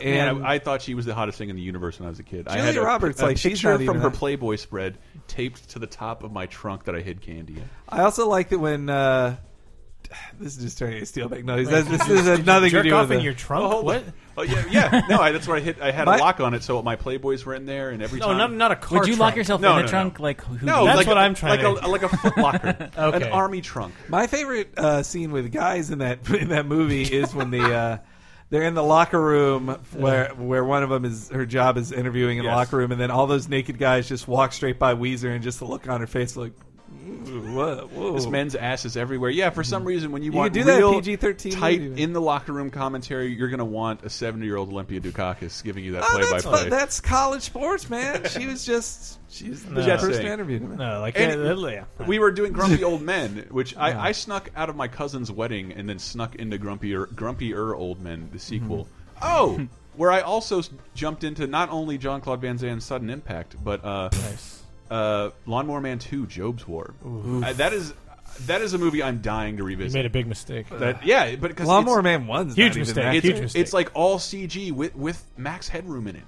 Speaker 2: and
Speaker 1: Man, I, I thought she was the hottest thing in the universe when I was a kid. I
Speaker 2: Julia
Speaker 1: had a,
Speaker 2: Roberts,
Speaker 1: a
Speaker 2: like, she's
Speaker 1: picture
Speaker 2: not
Speaker 1: from
Speaker 2: even
Speaker 1: her
Speaker 2: that-
Speaker 1: Playboy spread taped to the top of my trunk that I hid candy in.
Speaker 2: I, also like that when uh, this is just turning into Steel Magnolias. That's This is has nothing to
Speaker 3: Jerk
Speaker 2: do
Speaker 3: off
Speaker 2: with
Speaker 3: in
Speaker 2: it.
Speaker 3: your trunk? what?
Speaker 1: Oh yeah, yeah. No, I, that's where I hit. I had
Speaker 2: My-
Speaker 1: a lock on it, so my Playboys were in there, and every
Speaker 3: No,
Speaker 1: time.
Speaker 3: not, not a car.
Speaker 4: Would you
Speaker 3: trunk.
Speaker 4: lock yourself
Speaker 1: No,
Speaker 4: in
Speaker 1: no,
Speaker 4: the
Speaker 1: no.
Speaker 4: trunk like who?
Speaker 1: No,
Speaker 3: That's
Speaker 1: like
Speaker 3: what
Speaker 1: a-
Speaker 3: I'm trying
Speaker 1: Like
Speaker 3: to-
Speaker 1: a like a foot locker,
Speaker 3: Okay.
Speaker 1: an army trunk.
Speaker 2: My favorite uh, scene with guys in that in that movie is when the uh, they're in the locker room where where one of them is her job is interviewing in the
Speaker 1: Yes.
Speaker 2: locker room, and then all those naked guys just walk straight by Weezer, and just the look on her face like, "Ooh, whoa, whoa.
Speaker 1: This men's ass is everywhere. Yeah, for
Speaker 3: Mm-hmm.
Speaker 1: some reason, when you,
Speaker 2: You
Speaker 1: want
Speaker 2: could do that in
Speaker 1: real
Speaker 2: PG-13
Speaker 1: tight
Speaker 2: movie.
Speaker 1: in the locker room commentary, you're going to want a 70 year old Olympia Dukakis giving you that
Speaker 2: Oh,
Speaker 1: play
Speaker 2: that's,
Speaker 1: by
Speaker 2: fu-
Speaker 1: play.
Speaker 2: that's college sports, man. She was just she's the
Speaker 1: Just
Speaker 2: person
Speaker 1: saying.
Speaker 2: interviewed him.
Speaker 3: No, like
Speaker 1: And-
Speaker 3: uh, yeah.
Speaker 1: We were doing Grumpy Old Men, which I, I snuck out of my cousin's wedding and then snuck into Grumpier, Grumpier Old Men, the sequel. Oh, where I also s- jumped into not only John Claude Van Zan's Sudden Impact, but uh, uh, Lawnmower Man 2, Job's War. Uh, that is that is a movie I'm dying to
Speaker 3: You
Speaker 1: revisit.
Speaker 3: made a big mistake.
Speaker 1: that, yeah, but because
Speaker 2: Lawnmower Man one's
Speaker 3: Huge
Speaker 2: not even
Speaker 3: mistake.
Speaker 2: that
Speaker 1: It's,
Speaker 3: Huge
Speaker 2: good.
Speaker 3: mistake.
Speaker 1: it's like all CG with with max headroom in it.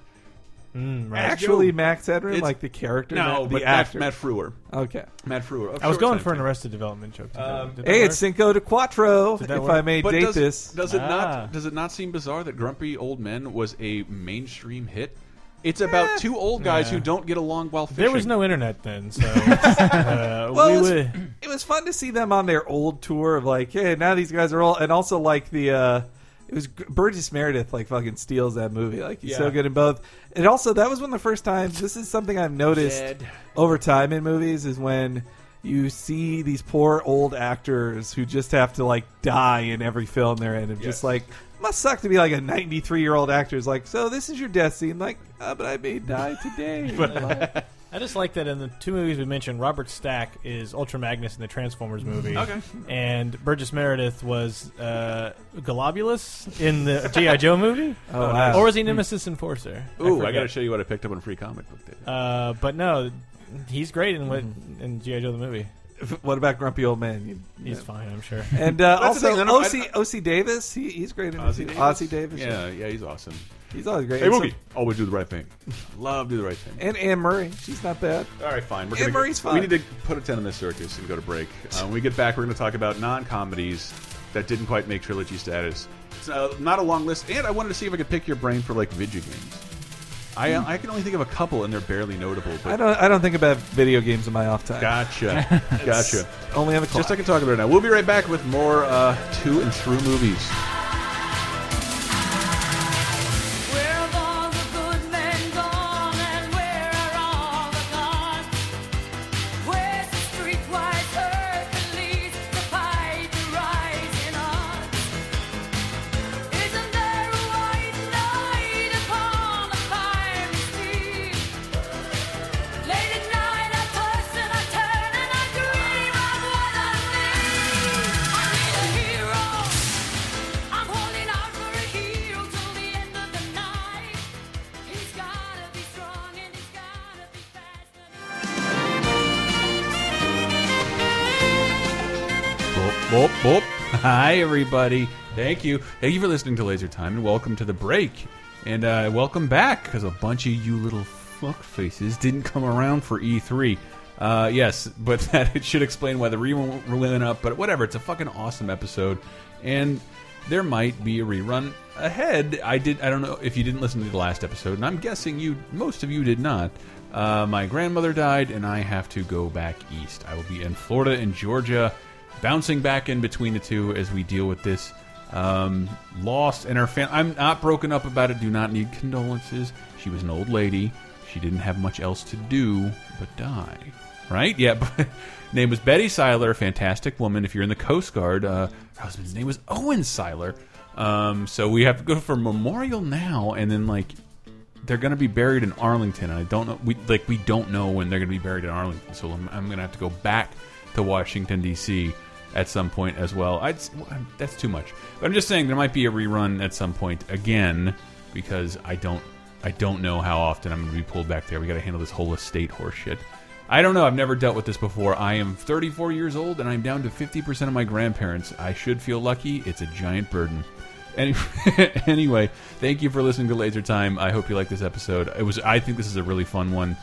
Speaker 2: Actually, Max Headroom,
Speaker 1: It's-
Speaker 2: like the character,
Speaker 1: No,
Speaker 2: not
Speaker 1: but Matt,
Speaker 2: the actor.
Speaker 1: Matt Frewer.
Speaker 2: okay.
Speaker 1: Matt Frewer. Oh, Of
Speaker 3: I was
Speaker 1: course
Speaker 3: going
Speaker 1: I'm
Speaker 3: for an
Speaker 1: thinking.
Speaker 3: Arrested Development joke. Did
Speaker 1: Um,
Speaker 3: that- did that
Speaker 2: Hey,
Speaker 3: work?
Speaker 2: it's Cinco de Cuatro. If
Speaker 3: that work?
Speaker 2: I may
Speaker 1: But
Speaker 2: date
Speaker 1: does,
Speaker 2: this,
Speaker 1: does it
Speaker 4: Ah.
Speaker 1: not does it not seem bizarre that Grumpy Old Men was a mainstream hit? It's
Speaker 2: Eh.
Speaker 1: about two old guys who don't get along while fishing.
Speaker 3: There was no internet then, so uh,
Speaker 2: Well, it
Speaker 3: we
Speaker 2: was,
Speaker 3: would.
Speaker 2: it was fun to see them on their old tour of like, hey, now these guys are all, and also like the, uh, it was G- Burgess Meredith like fucking steals that movie. Like he's so
Speaker 1: Yeah.
Speaker 2: good in both. And also that was one of the first times. This is something I've noticed over time in movies is when you see these poor old actors who just have to like die in every film they're in. And just
Speaker 1: Yes.
Speaker 2: like must suck to be like a 93 year old actor. Is like, so this is your death scene. Like, "Ah, but I may die today.
Speaker 3: I just like that in the two movies we mentioned, Robert Stack is Ultra Magnus in the Transformers movie.
Speaker 1: Okay.
Speaker 3: And Burgess Meredith was uh, Globulus in the G.I. Joe movie?
Speaker 2: Oh, wow.
Speaker 3: Or was he Nemesis Enforcer?
Speaker 1: Ooh, I,
Speaker 3: forget.
Speaker 1: got to show you what I picked up on free comic book day.
Speaker 3: Uh, but no, he's great in what
Speaker 2: Mm-hmm.
Speaker 3: in G.I. Joe the movie.
Speaker 2: what about Grumpy Old Man? You-
Speaker 3: He's fine, I'm sure.
Speaker 2: And uh,
Speaker 1: That's the
Speaker 2: also,
Speaker 1: thing, I don't- I-
Speaker 2: OC, OC Davis, he, he's great in Ozzy Davis. Davis.
Speaker 1: Yeah, yeah, he's awesome.
Speaker 2: He's always great.
Speaker 1: Hey,
Speaker 2: And so-
Speaker 1: Wookie, always do the right thing. Love do the right thing.
Speaker 2: And Anne Murray, she's not bad.
Speaker 1: All right, fine. We're
Speaker 2: Anne
Speaker 1: gonna go-
Speaker 2: Marie's fine.
Speaker 1: We need to put a ten in this circus and go to break. Uh, when we get back, we're going to talk about non-comedies that didn't quite make trilogy status. It's uh, not a long list, and I wanted to see if I could pick your brain for like video games. I uh, I can only think of a couple, and they're barely notable. But
Speaker 2: I don't, I don't think about video games in my off time.
Speaker 1: gotcha, gotcha.
Speaker 2: Only on the clock.
Speaker 1: Just I can talk about it now. We'll be right back with more uh, two and through movies.
Speaker 11: I'm holding out for a hero till the end of the night. He's gotta be strong and he's gotta be fast.
Speaker 1: Boop, boop, boop. Hi, everybody. Thank you. Thank you for listening to Laser Time, and welcome to the break. And uh, welcome back, because a bunch of you little fuck faces didn't come around for E3. Uh, yes, but that it should explain why the rerun went up. But whatever, it's a fucking awesome episode, and there might be a rerun ahead. I did. I don't know if you didn't listen to the last episode, and I'm guessing you, most of you, did not. Uh, my grandmother died, and I have to go back east. I will be in Florida and Georgia bouncing back in between the two as we deal with this um, loss and her family. I'm not broken up about it. Do not need condolences. She was an old lady. She didn't have much else to do but die. Right? Yeah. But name was Betty Seiler, a fantastic woman. If you're in the Coast Guard, uh, her husband's name was Owen Seiler. Um, so we have to go for memorial now, and then like they're going to be buried in Arlington. and I don't know. We like we don't know when they're going to be buried in Arlington, so I'm, I'm going to have to go back to Washington D.C. at some point as well. I'd s- that's too much. But I'm just saying there might be a rerun at some point again because I don't I don't know how often I'm going to be pulled back there. We got to handle this whole estate horseshit. I don't know. I've never dealt with this before. I am 34 years old and I'm down to 50% of my grandparents. I should feel lucky. It's a giant burden. Any, anyway, thank you for listening to Laser Time. I hope you like this episode. It was I think this is a really fun one.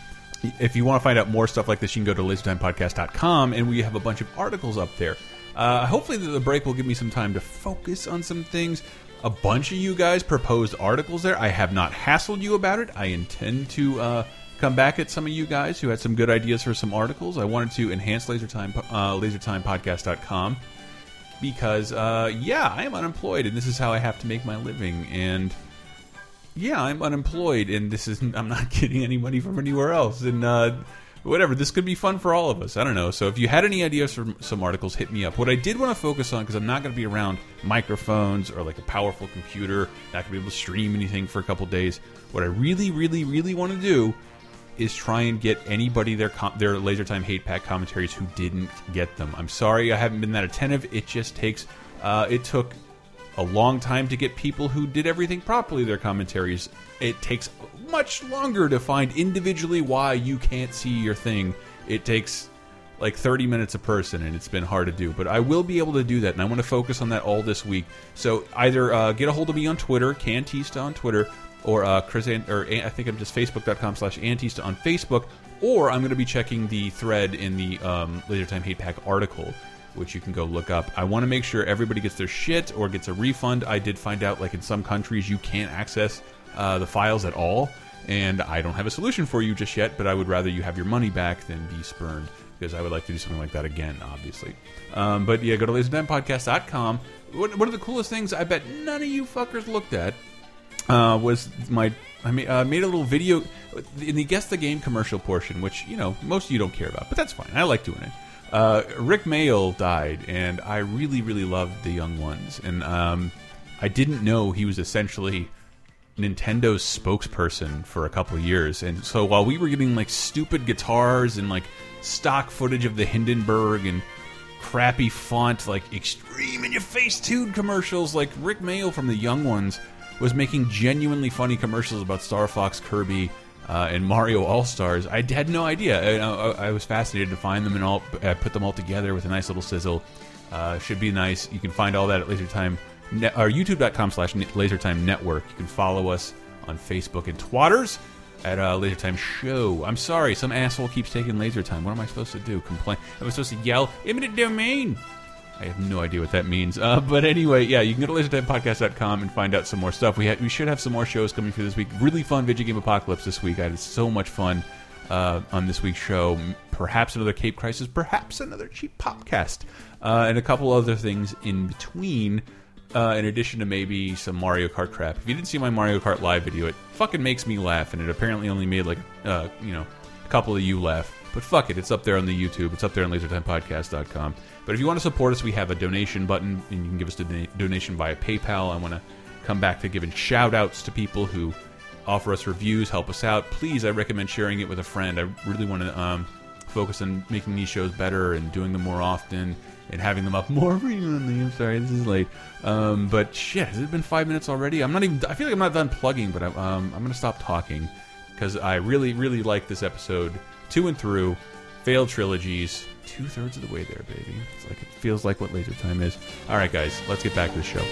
Speaker 1: If you want to find out more stuff like this, you can go to lasertimepodcast.com and we have a bunch of articles up there. Uh, hopefully, the- the break will give me some time to focus on some things. A bunch of you guys proposed articles there. I have not hassled you about it. I intend to uh, come back at some of you guys who had some good ideas for some articles. I wanted to enhance lasertime, uh, lasertimepodcast.com because uh, yeah, I am unemployed, and this is how I have to make my living. And yeah, I'm unemployed, and this is I'm not getting any money from anywhere else. And uh, whatever, this could be fun for all of us. I don't know. So if you had any ideas for some articles, hit me up. What I did want to focus on because I'm not going to be around microphones or like a powerful computer, not going to be able to stream anything for a couple days. What I really, really, really want to do is try and get anybody their com their laser time hate pack commentaries who didn't get them. I'm sorry I haven't been that attentive. It just takes uh, it took a long time to get people who did everything properly their commentaries. It takes much longer to find individually why you can't see your thing. It takes like 30 minutes a person and it's been hard to do but i will be able to do that and i want to focus on that all this week so either uh, get a hold of me on twitter cantista on twitter or uh, chris An- or An- i think i'm just facebook.com slash antista on facebook or i'm going to be checking the thread in the um, laser time hate pack article which you can go look up i want to make sure everybody gets their shit or gets a refund i did find out like in some countries you can't access uh, the files at all and I don't have a solution for you just yet, but I would rather you have your money back than be spurned because I would like to do something like that again, obviously. Um, but yeah, go to laserdimepodcast.com. One one of the coolest things I bet none of you fuckers looked at uh, was my I made, uh, made a little video in the guess the game commercial portion, which you know most of you don't care about, but that's fine. I like doing it. Uh, Rick Mayall died, and I really really loved the young ones, and um, I didn't know he was essentially Nintendo's spokesperson for a couple of years, and so while we were getting like stupid guitars and like stock footage of the Hindenburg and crappy font like extreme in your face dude commercials like Rick Mayall from the Young Ones was making genuinely funny commercials about Star Fox, Kirby, uh, and Mario All Stars. I had no idea. And I, I, was fascinated to find them and all. I put them all together with a nice little sizzle. Uh, should be nice. You can find all that at LaserTime ne- or YouTube.com/slash LaserTime Network. You can follow us on Facebook and Twatters at uh, Laser Time Show. I'm sorry, some asshole keeps taking Laser Time. What am I supposed to do? Complain? Am I supposed to yell? Eminent domain. I have no idea what that means. Uh, but anyway, yeah, you can go to lasertimepodcast.com and find out some more stuff. We ha we should have some more shows coming through this week. Really fun video game apocalypse this week. I had so much fun uh, on this week's show. Perhaps another Cape Crisis. Perhaps another cheap popcast, uh, and a couple other things in between. Uh, in addition to maybe some Mario Kart crap. If you didn't see my Mario Kart live video, it fucking makes me laugh, and it apparently only made like uh, you know a couple of you laugh. But fuck it, it's up there on the YouTube. It's up there on lasertimepodcast.com. But if you want to support us, we have a donation button, and you can give us a dona- donation via PayPal. I want to come back to giving shout outs to people who offer us reviews, help us out. Please, I recommend sharing it with a friend. I really want to um, focus on making these shows better and doing them more often and having them up more frequently. I'm sorry, this is late. Um, but shit, has it been five minutes already? I'm not even. I feel like I'm not done plugging, but I'm, um, I'm going to stop talking because I really, really like this episode two and through. Failed trilogies, two thirds of the way there, baby. It's like it feels like what laser time is. All right, guys, let's get back to the show.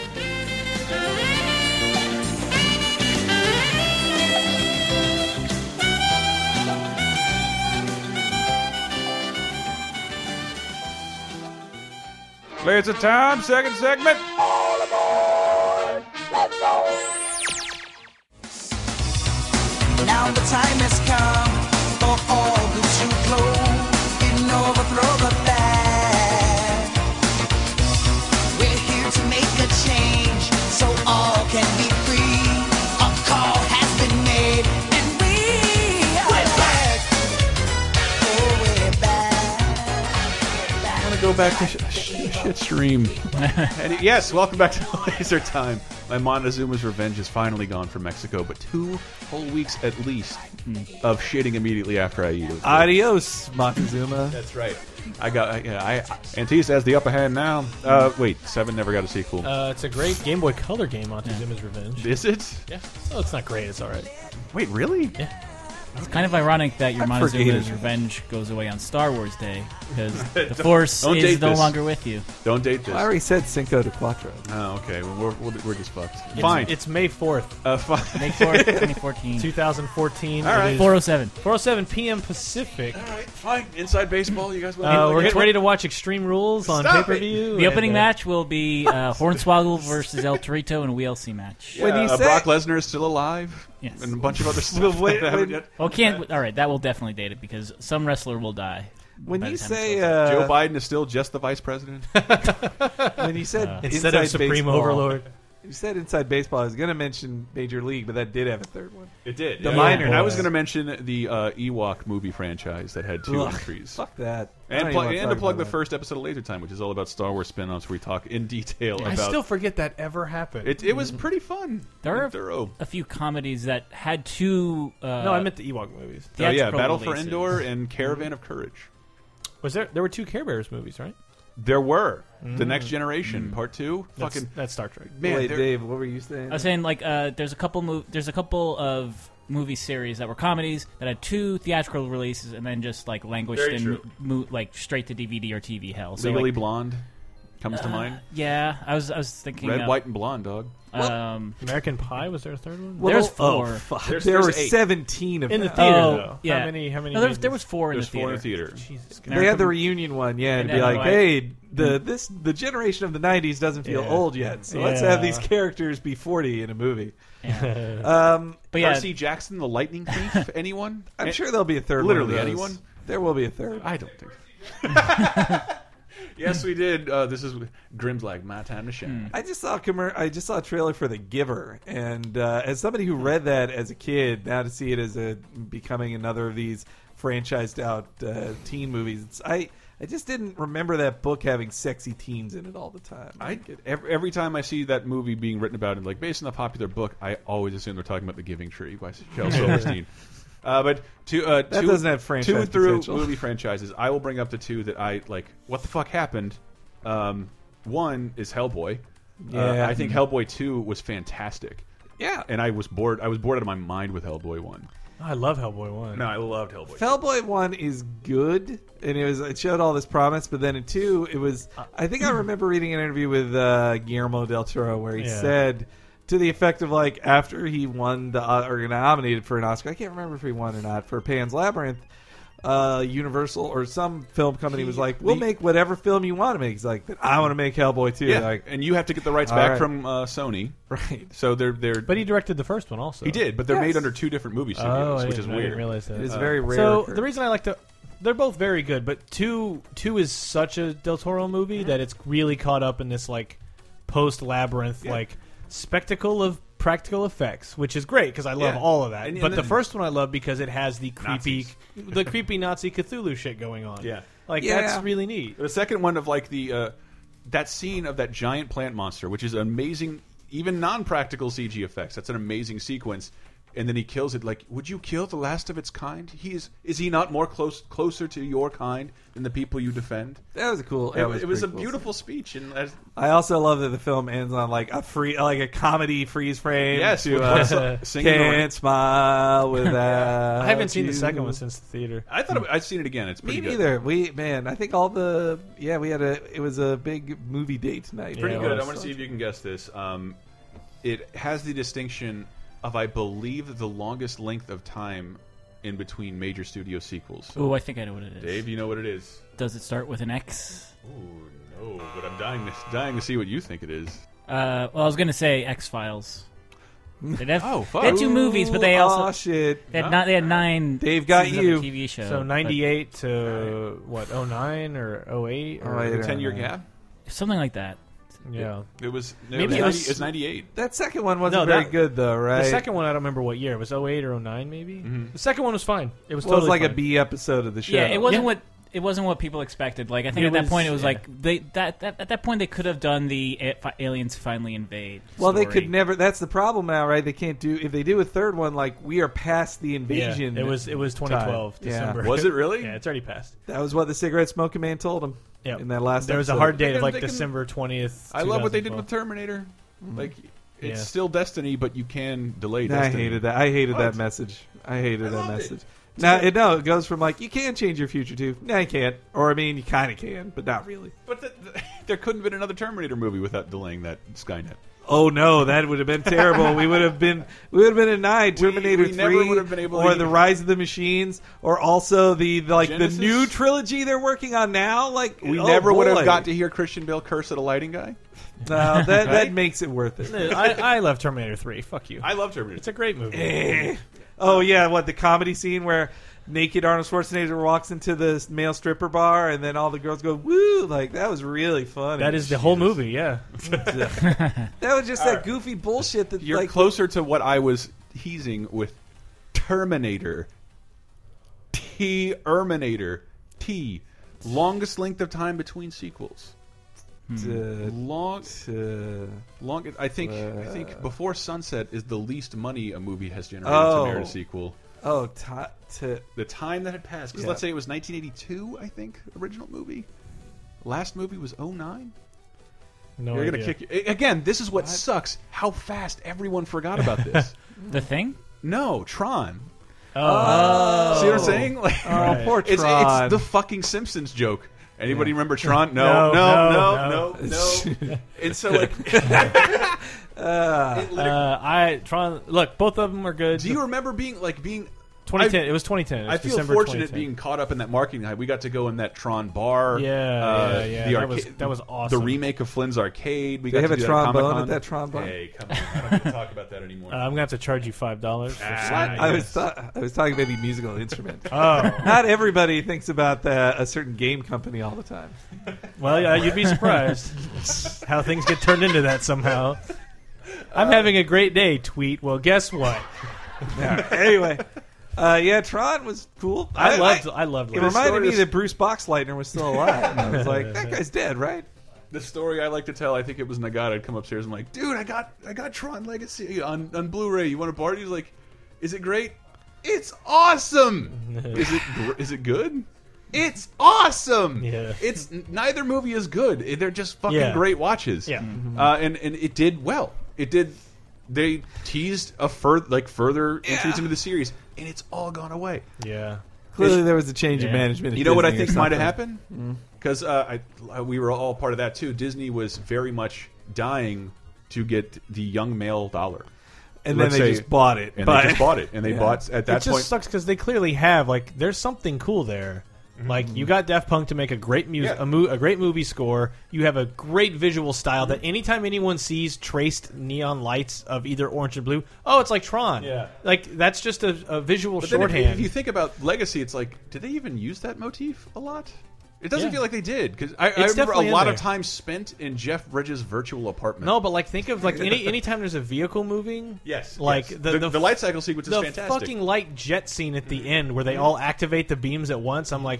Speaker 1: Laser time, second segment.
Speaker 11: Now the time has come for all good to glow and overthrow the bad. We're here to make a change so all can be free. A call has been made and we are back. Oh, we're back.
Speaker 1: I'm gonna go back to sh- sh- shit stream. and yes, welcome back to Laser Time. My Montezuma's revenge is finally gone from Mexico, but two whole weeks at least of shitting immediately after I eat it.
Speaker 2: Adios, Montezuma.
Speaker 1: That's right. I got yeah. I Antista has the upper hand now. Uh, wait, Seven never got a sequel.
Speaker 3: Uh, it's a great Game Boy Color game, Montezuma's Revenge.
Speaker 1: Is it?
Speaker 3: Yeah. Oh, it's not great. It's all right.
Speaker 1: Wait, really?
Speaker 3: Yeah.
Speaker 4: It's kind of ironic that your
Speaker 3: I forget
Speaker 4: Montezuma's
Speaker 3: it.
Speaker 4: Revenge goes away on Star Wars Day because the Force
Speaker 1: don't
Speaker 4: is
Speaker 1: date
Speaker 4: no
Speaker 1: this.
Speaker 4: longer with you.
Speaker 1: Don't date this.
Speaker 2: I already said Cinco de Cuatro.
Speaker 1: Oh, okay. Well, we're, we're, we're just fucked. Fine.
Speaker 3: It's May 4th.
Speaker 1: Uh, fine.
Speaker 4: May 4th, 2014.
Speaker 3: 2014.
Speaker 1: All right.
Speaker 3: It is
Speaker 4: 407.
Speaker 3: 407 p.m. Pacific.
Speaker 1: All right, fine. Inside baseball, you guys want
Speaker 3: Uh,
Speaker 1: to
Speaker 3: we're getting ready to watch Extreme Rules on
Speaker 1: Stop
Speaker 3: pay
Speaker 1: it.
Speaker 3: per view.
Speaker 4: The opening match will be uh, Hornswoggle versus El Torito in a WLC match.
Speaker 1: Yeah,
Speaker 2: When he
Speaker 1: uh,
Speaker 2: said-
Speaker 1: Brock Lesnar is still alive,
Speaker 4: Yes.
Speaker 1: and a bunch of other stuff
Speaker 2: wait,
Speaker 1: that haven't
Speaker 2: when-
Speaker 1: yet.
Speaker 4: Well, can't. All right, that will definitely date it because some wrestler will die.
Speaker 2: When
Speaker 4: by the
Speaker 2: you
Speaker 4: time it's
Speaker 2: say
Speaker 4: over.
Speaker 2: uh,
Speaker 1: Joe Biden is still just the vice president.
Speaker 2: when you said inside
Speaker 3: Instead of Supreme
Speaker 2: baseball,
Speaker 3: Overlord.
Speaker 2: you said inside baseball. I was going to mention Major League, but that did have a third one.
Speaker 1: It did.
Speaker 2: The
Speaker 1: yeah.
Speaker 2: minor.
Speaker 1: And I was going to mention the uh, Ewok movie franchise that had two
Speaker 2: Ugh,
Speaker 1: entries.
Speaker 2: Fuck that. I
Speaker 1: And,
Speaker 2: don't
Speaker 1: pl-
Speaker 2: even wanna
Speaker 1: and to
Speaker 2: talk
Speaker 1: plug
Speaker 2: about
Speaker 1: the
Speaker 2: that.
Speaker 1: first episode of Laser Time, which is all about Star Wars spin-offs. We talk in detail
Speaker 3: I
Speaker 1: about
Speaker 3: still forget that ever happened.
Speaker 1: it. It was pretty fun.
Speaker 4: There
Speaker 1: and
Speaker 4: are-
Speaker 1: thorough.
Speaker 4: A few comedies that had two. Uh,
Speaker 3: no, I meant the Ewok movies.
Speaker 1: Oh, yeah,
Speaker 4: theatrical
Speaker 1: Battle for
Speaker 4: releases.
Speaker 1: Endor and Caravan of Courage.
Speaker 3: Was there? There were two Care Bears movies, right?
Speaker 1: There were the Next Generation Part Two.
Speaker 3: That's,
Speaker 1: Fucking
Speaker 3: that's Star Trek.
Speaker 1: man,
Speaker 2: Wait,
Speaker 1: there-
Speaker 2: Dave, what were you saying?
Speaker 4: I was saying like uh, there's a couple mov- there's a couple of movie series that were comedies that had two theatrical releases and then just like languished
Speaker 1: Very
Speaker 4: in
Speaker 1: true.
Speaker 4: mo- like straight to DVD or TV hell. So,
Speaker 1: Legally
Speaker 4: like,
Speaker 1: Blonde comes to mind.
Speaker 4: yeah, I was I was thinking
Speaker 1: Red,
Speaker 4: uh,
Speaker 1: white, and blonde, dog.
Speaker 4: Um,
Speaker 3: American Pie was there a third one?
Speaker 2: Well,
Speaker 4: there's
Speaker 2: oh,
Speaker 4: four.
Speaker 2: fuck.
Speaker 1: There's-
Speaker 2: there
Speaker 1: there's
Speaker 2: were
Speaker 1: eight.
Speaker 2: seventeen of
Speaker 3: in the
Speaker 2: them.
Speaker 3: theater,
Speaker 4: Oh,
Speaker 3: though.
Speaker 4: yeah.
Speaker 3: How many? How many?
Speaker 4: no, there, was-
Speaker 3: movies?
Speaker 4: there was four in the
Speaker 1: There's
Speaker 4: theater.
Speaker 1: four in the theater.
Speaker 3: Jesus.
Speaker 2: They had the reunion one, yeah, and
Speaker 4: And
Speaker 2: to be
Speaker 4: then,
Speaker 2: like,
Speaker 4: like-
Speaker 2: hey, the this the generation of the '90s doesn't feel
Speaker 3: Yeah.
Speaker 2: old yet, so let's have these
Speaker 3: Yeah.
Speaker 2: characters be 40 in a movie.
Speaker 4: Yeah.
Speaker 2: Um,
Speaker 4: But yeah,
Speaker 1: Percy Jackson, the Lightning Thief. Anyone?
Speaker 2: I'm
Speaker 1: Eh,
Speaker 2: sure there'll be a third.
Speaker 1: Literally
Speaker 2: one of those.
Speaker 1: anyone?
Speaker 2: There will be a third.
Speaker 1: I don't think. yes, we did. Uh, this is Grimm's like my time to shine.
Speaker 2: I just saw a commer- I just saw a trailer for The Giver, and uh, as somebody who read that as a kid, now to see it as a becoming another of these franchised out uh, teen movies, it's, I I just didn't remember that book having sexy teens in it all the time.
Speaker 1: I get every, every time I see that movie being written about and like based on a popular book, I always assume they're talking about The Giving Tree by Shel Silverstein. Uh, but two, uh,
Speaker 2: That
Speaker 1: two,
Speaker 2: doesn't have franchise
Speaker 1: two and through
Speaker 2: potential.
Speaker 1: movie franchises. I will bring up the two that I like. What the fuck happened? Um, one is Hellboy.
Speaker 2: Yeah.
Speaker 1: uh, I think Hellboy two was fantastic,
Speaker 2: yeah,
Speaker 1: and I was bored. I was bored out of my mind with Hellboy one.
Speaker 3: I love Hellboy one.
Speaker 1: No, I loved Hellboy.
Speaker 2: Fellboy one is good, and it was it showed all this promise, but then in two, it was.
Speaker 1: Uh,
Speaker 2: I think I remember reading an interview with uh, Guillermo del Toro where he
Speaker 3: Yeah.
Speaker 2: said to the effect of like after he won the uh, or nominated for an Oscar, I can't remember if he won or not for Pan's Labyrinth. Uh, Universal or some film company was like, "We'll
Speaker 1: the-
Speaker 2: make whatever film you want to make." He's like, "But "I want to make Hellboy too."
Speaker 1: Yeah,
Speaker 2: Like,
Speaker 1: and you have to get the rights
Speaker 2: All
Speaker 1: back
Speaker 2: right.
Speaker 1: from uh, Sony,
Speaker 2: right?
Speaker 1: so they're they're.
Speaker 3: But he directed the first one also.
Speaker 1: he did, but they're
Speaker 2: Yes.
Speaker 1: made under two different movie
Speaker 3: Oh,
Speaker 1: studios,
Speaker 3: I
Speaker 1: which
Speaker 3: didn't-
Speaker 1: is
Speaker 3: I
Speaker 1: weird.
Speaker 3: didn't realize that. Oh.
Speaker 2: It is very rare.
Speaker 3: So
Speaker 2: for-
Speaker 3: the reason I like to, they're both very good, but two two is such a Del Toro movie that it's really caught up in this like post labyrinth
Speaker 1: Yeah.
Speaker 3: like spectacle of practical effects, which is great because I love
Speaker 1: Yeah.
Speaker 3: all of that.
Speaker 1: And-
Speaker 3: but
Speaker 1: and
Speaker 3: the
Speaker 1: then-
Speaker 3: first one I love because it has the creepy
Speaker 1: Nazis.
Speaker 3: the creepy Nazi Cthulhu shit going on.
Speaker 1: Yeah.
Speaker 3: like
Speaker 2: Yeah.
Speaker 3: that's really neat.
Speaker 1: The second one of like the uh, that scene of that giant plant monster, which is amazing, even non-practical CG effects. That's an amazing sequence. And then he kills it. Like, would you kill the last of its kind? He is, is he not more close closer to your kind than the people you defend?
Speaker 2: that was a cool. that
Speaker 1: It, it was a
Speaker 2: pretty cool.
Speaker 1: beautiful speech, and as,
Speaker 2: I also love that the film ends on like a free, like a comedy freeze frame.
Speaker 1: yes,
Speaker 2: to,
Speaker 1: with
Speaker 2: uh,
Speaker 1: us singing.
Speaker 2: can't smile without.
Speaker 3: I haven't seen the second
Speaker 2: you.
Speaker 3: one since the theater.
Speaker 1: I thought it- I've seen it again. It's
Speaker 2: Me
Speaker 1: pretty good.
Speaker 2: neither. We man, I think all the yeah we had a it was a big movie date tonight.
Speaker 1: Pretty
Speaker 3: Yeah,
Speaker 1: good. I
Speaker 3: well,
Speaker 1: want to see if you can guess this. Um, it has the distinction of, I believe, the longest length of time in between major studio sequels.
Speaker 4: ooh, I think I know what it is.
Speaker 1: Dave, you know what it is?
Speaker 4: Does it start with an X?
Speaker 1: Ooh, no, but I'm dying to, dying to see what you think it is.
Speaker 4: Uh, well, I was gonna say X Files.
Speaker 1: Oh, fuck.
Speaker 4: They had two movies, but they
Speaker 2: Ooh,
Speaker 4: also
Speaker 2: aw, Oh, shit.
Speaker 4: they had, not, they had nine.
Speaker 2: Dave got
Speaker 4: seasons of a
Speaker 2: you.
Speaker 4: TV show.
Speaker 3: So
Speaker 4: but
Speaker 3: ninety eight to what 09 or 08 or
Speaker 2: Oh, I don't
Speaker 1: Ten year
Speaker 2: know.
Speaker 1: gap?
Speaker 4: something like that.
Speaker 3: yeah.
Speaker 1: It was, no,
Speaker 3: Maybe
Speaker 1: it
Speaker 3: it
Speaker 1: was,
Speaker 3: was-
Speaker 1: 90 it's 98.
Speaker 2: That second one wasn't
Speaker 3: No,
Speaker 2: very
Speaker 3: that-
Speaker 2: good though, right?
Speaker 3: The second one I don't remember what year. It oh
Speaker 1: Mm-hmm.
Speaker 3: was 08 or 09 maybe. The second one was fine. It was
Speaker 2: Well, it was
Speaker 3: totally
Speaker 2: like a
Speaker 3: fine.
Speaker 2: B episode of the show.
Speaker 4: Yeah, it wasn't
Speaker 3: Yeah.
Speaker 4: what it wasn't what people expected. Like I think
Speaker 2: It
Speaker 4: at
Speaker 2: was-
Speaker 4: that point it was
Speaker 2: yeah.
Speaker 4: like they that, that at that point they could have done the a- fi- aliens finally invade.
Speaker 2: Well, they
Speaker 4: story.
Speaker 2: could never. That's the problem now, right? They can't do if they do a third one. Like we are past the invasion.
Speaker 3: it was- it was 2012
Speaker 2: time.
Speaker 3: December.
Speaker 2: Yeah.
Speaker 3: Was it really? Yeah, it's already passed.
Speaker 2: That was what the cigarette smoking man told him.
Speaker 3: Yeah,
Speaker 2: in that last.
Speaker 3: There was a
Speaker 2: episode.
Speaker 3: hard date of
Speaker 1: They
Speaker 3: like
Speaker 1: can-
Speaker 3: December twentieth.
Speaker 1: I love what they did with Terminator. Like it's
Speaker 2: Yeah.
Speaker 1: still Destiny, but you can delay.
Speaker 2: No, I
Speaker 1: Destiny.
Speaker 2: hated that. I hated that
Speaker 1: What?
Speaker 2: message. I hated that message. Now it no, it goes from like you can change your future to no, you can't, or I mean you kind of can, but not really.
Speaker 1: But the, the, there couldn't have been another Terminator movie without delaying that Skynet.
Speaker 2: Oh no, that would have been terrible. we would have been we would have been denied Terminator
Speaker 1: we never
Speaker 2: Three,
Speaker 1: would have been able to
Speaker 2: or
Speaker 1: even-
Speaker 2: the Rise of the Machines, or also the like
Speaker 1: Genesis?
Speaker 2: the new trilogy they're working on now. Like
Speaker 1: We
Speaker 2: oh,
Speaker 1: never would
Speaker 2: boy.
Speaker 1: have got to hear Christian Bale curse at a lighting guy.
Speaker 2: No, that that makes it worth it.
Speaker 3: I, I love Terminator Three. Fuck you.
Speaker 1: I love Terminator.
Speaker 3: It's a great movie.
Speaker 2: Eh. Oh yeah, what the comedy scene where naked Arnold Schwarzenegger walks into the male stripper bar and then all the girls go woo like that was really funny.
Speaker 3: That is the whole movie. Yeah.
Speaker 2: that was just that goofy bullshit that
Speaker 1: You're
Speaker 2: like
Speaker 1: closer to what I was teasing with Terminator, Terminator, T. Longest length of time between sequels. long, long. I think. I think before sunset is the least money a movie has generated
Speaker 2: Oh.
Speaker 1: to merit a sequel.
Speaker 2: oh ta- to
Speaker 1: The time that had passed, because
Speaker 2: Yeah.
Speaker 1: let's say it was 1982, I think, original movie. Last movie was 09.
Speaker 3: No
Speaker 1: You're
Speaker 3: idea.
Speaker 1: gonna kick a- again. This is what sucks. How fast everyone forgot about this.
Speaker 4: the thing.
Speaker 1: No, Tron.
Speaker 3: Oh.
Speaker 1: See what I'm saying? Like,
Speaker 2: Oh, poor
Speaker 1: it's,
Speaker 2: Tron.
Speaker 1: it's the fucking Simpsons joke. Anybody remember Tron? No,
Speaker 3: No,
Speaker 1: no, no,
Speaker 3: Oh, no,
Speaker 1: no, no. and so, like, it
Speaker 3: Uh,
Speaker 1: literally-
Speaker 3: I Tron. Look, both of them are good.
Speaker 1: do you remember being like being?
Speaker 3: 2010.
Speaker 1: I-
Speaker 3: it was 2010. It was
Speaker 1: I feel
Speaker 3: December
Speaker 1: fortunate
Speaker 3: 2010.
Speaker 1: being caught up in that marketing hype. We got to go in that Tron bar.
Speaker 3: Yeah,
Speaker 1: uh,
Speaker 3: yeah, yeah.
Speaker 1: The
Speaker 3: That was-
Speaker 1: arca-
Speaker 3: that was awesome.
Speaker 1: The remake of Flynn's Arcade. We
Speaker 2: They
Speaker 1: got
Speaker 2: have
Speaker 1: to
Speaker 2: a
Speaker 1: do that
Speaker 2: trombone
Speaker 1: Comic-Con.
Speaker 2: at that trombone?
Speaker 1: Hey, come on! I don't get to talk about that anymore.
Speaker 3: Uh, I'm gonna have to charge you five dollars.
Speaker 1: Ah,
Speaker 2: I was
Speaker 1: yes.
Speaker 2: ta- I was talking about the musical instrument.
Speaker 3: Oh,
Speaker 2: Not everybody thinks about the, a certain game company all the time.
Speaker 3: well, yeah, you'd be surprised how things get turned into that somehow. I'm
Speaker 1: Uh,
Speaker 3: having a great day. Tweet. Well, guess what?
Speaker 2: Yeah. anyway, uh, yeah, Tron was cool.
Speaker 3: I loved. I, loved.
Speaker 2: It
Speaker 3: Last
Speaker 2: reminded
Speaker 1: story
Speaker 2: me
Speaker 1: is-
Speaker 2: that Bruce Boxleitner was still alive. And I was like, that guy's dead, right?
Speaker 1: the story I like to tell, I think it was Nagata. I'd come upstairs. I'm like, dude, I got I got Tron Legacy on on Blu-ray. You want to borrow it? He's like, is it great? It's awesome. is it gr- is it good? It's awesome.
Speaker 3: Yeah.
Speaker 1: It's neither movie is good. Eh, They're just fucking
Speaker 3: Yeah.
Speaker 1: great watches.
Speaker 3: Yeah.
Speaker 1: Uh, and and it did well. It did. They teased a further like further entries into the series, and it's all gone away.
Speaker 3: Yeah.
Speaker 2: Clearly, there was a change
Speaker 3: Yeah.
Speaker 2: in management. at
Speaker 1: You know what I
Speaker 2: Disney or
Speaker 1: think might have
Speaker 2: something.
Speaker 1: happened?
Speaker 3: Mm.
Speaker 1: Because uh, I- I- we were all part of that too. Disney was very much dying to get the young male dollar,
Speaker 2: And then
Speaker 1: Let's
Speaker 2: they
Speaker 1: say-
Speaker 2: just bought it.
Speaker 1: and
Speaker 2: but
Speaker 1: they just bought it. And they bought at
Speaker 3: it
Speaker 1: that
Speaker 3: just
Speaker 1: point.
Speaker 3: sucks because they clearly have like there's something cool there. Like you got Daft Punk to make a great music,
Speaker 1: Mm-hmm. Yeah.
Speaker 3: a, mo- a great movie score. You have a great visual style that anytime anyone sees traced neon lights of either orange and blue, oh, it's like Tron.
Speaker 1: Yeah.
Speaker 3: like that's just a, a visual
Speaker 1: But then if,
Speaker 3: shorthand.
Speaker 1: if you think about Legacy, it's like, did they even use that motif a lot? It doesn't
Speaker 3: Yeah.
Speaker 1: feel like they did because I, I remember a
Speaker 3: definitely in
Speaker 1: lot
Speaker 3: there.
Speaker 1: of time spent in Jeff Bridges' virtual apartment.
Speaker 3: no, but like think of like any anytime there's a vehicle moving.
Speaker 1: yes,
Speaker 3: like
Speaker 1: yes.
Speaker 3: The, the,
Speaker 1: the light cycle sequence is
Speaker 3: the
Speaker 1: fantastic. Mm-hmm.
Speaker 3: fucking light jet scene at the end where they all activate the beams at once. I'm like,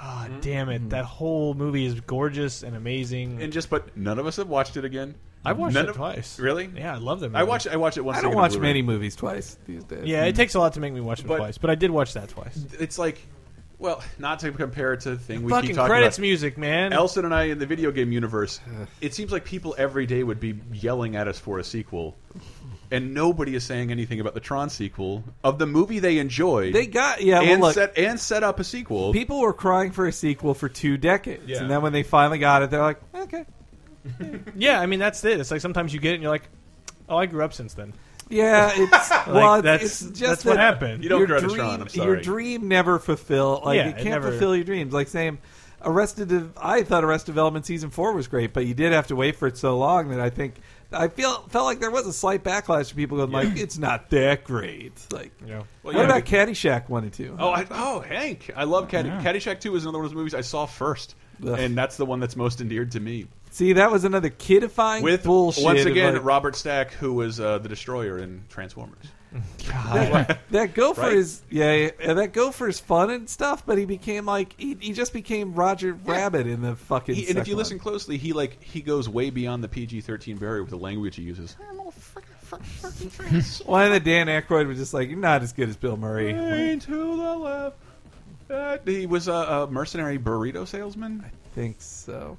Speaker 3: God
Speaker 1: Mm-hmm.
Speaker 3: damn it! That whole movie is gorgeous and amazing.
Speaker 1: and just, but none of us have watched it again.
Speaker 3: I've watched
Speaker 1: None
Speaker 3: it
Speaker 1: of-
Speaker 3: twice.
Speaker 1: Really?
Speaker 3: Yeah, I love them.
Speaker 1: I watched. I watched it once.
Speaker 2: I don't
Speaker 1: again on
Speaker 2: watch
Speaker 1: Blu-ray.
Speaker 2: many movies twice these days.
Speaker 3: Yeah, it takes a lot to make me watch them
Speaker 1: But-
Speaker 3: twice, but I did watch that twice.
Speaker 1: It's like, well, not to compare it to the thing we
Speaker 3: Fucking
Speaker 1: keep talking
Speaker 3: credits
Speaker 1: about.
Speaker 3: music, man.
Speaker 1: Elson and I in the video game universe, it seems like people every day would be yelling at us for a sequel, and nobody is saying anything about the Tron sequel of the movie they enjoyed.
Speaker 2: They got yeah. Well,
Speaker 1: and
Speaker 2: look,
Speaker 1: set and set up a sequel.
Speaker 2: people were crying for a sequel for two decades,
Speaker 1: Yeah.
Speaker 2: and then when they finally got it, they're like, okay,
Speaker 3: yeah, I mean that's it. It's like sometimes you get it and you're like, oh, I grew up since then.
Speaker 2: yeah, it's well, it's-
Speaker 3: that's-
Speaker 2: it's just
Speaker 3: that's what
Speaker 2: that
Speaker 3: happened.
Speaker 1: You don't
Speaker 2: your
Speaker 1: grow out of
Speaker 2: dream,
Speaker 1: Tron, I'm sorry.
Speaker 2: Your dream never fulfill. Like it
Speaker 3: Yeah, it
Speaker 2: can't
Speaker 3: never-
Speaker 2: fulfill your dreams. Like same. Arrested. De- I thought Arrested Development season four was great, but you did have to wait for it so long that I think I feel felt like there was a slight backlash to people going like, "It's not that great." Like,
Speaker 3: Yeah.
Speaker 1: Well,
Speaker 2: what
Speaker 1: yeah,
Speaker 2: about Caddyshack one and two?
Speaker 1: Oh, I, oh, Hank! I love Caddy, Caddyshack Two is another one of those movies I saw first,
Speaker 2: Ugh.
Speaker 1: and that's the one that's most endeared to me.
Speaker 2: See, that was another kidifying
Speaker 1: With
Speaker 2: bullshit.
Speaker 1: once
Speaker 2: of,
Speaker 1: again
Speaker 2: like-
Speaker 1: Robert Stack, who was uh, the Destroyer in Transformers.
Speaker 2: that, that gopher
Speaker 1: Right?
Speaker 2: is yeah, yeah, yeah, that gopher is fun and stuff, but he became like he, he just became Roger Rabbit in the fucking.
Speaker 1: He- and if you
Speaker 2: second
Speaker 1: listen closely, he like he goes way beyond the PG-13 barrier with the language he uses.
Speaker 2: one. why the Dan Aykroyd was just like you're not as good as Bill Murray.
Speaker 1: Way to the left. Uh, he was a, a mercenary burrito salesman. I
Speaker 2: think so.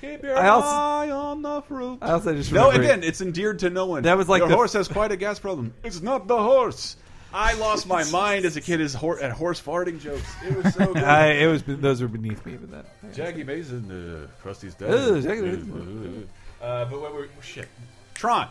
Speaker 1: Keep your
Speaker 2: I also-
Speaker 1: eye on the fruit.
Speaker 2: I also just
Speaker 1: no.
Speaker 2: remembered-
Speaker 1: Again, it's endeared to no one.
Speaker 2: That was like
Speaker 1: your
Speaker 2: the-
Speaker 1: horse has quite a gas problem. It's not the horse. I lost my mind as a kid as hor at horse farting jokes. It was so good.
Speaker 2: I, it was those were beneath me, but that
Speaker 1: Jackie Mason, uh, Krusty's dad.
Speaker 2: Oh, Jackie Mason.
Speaker 1: Uh, but what were shit? Tron,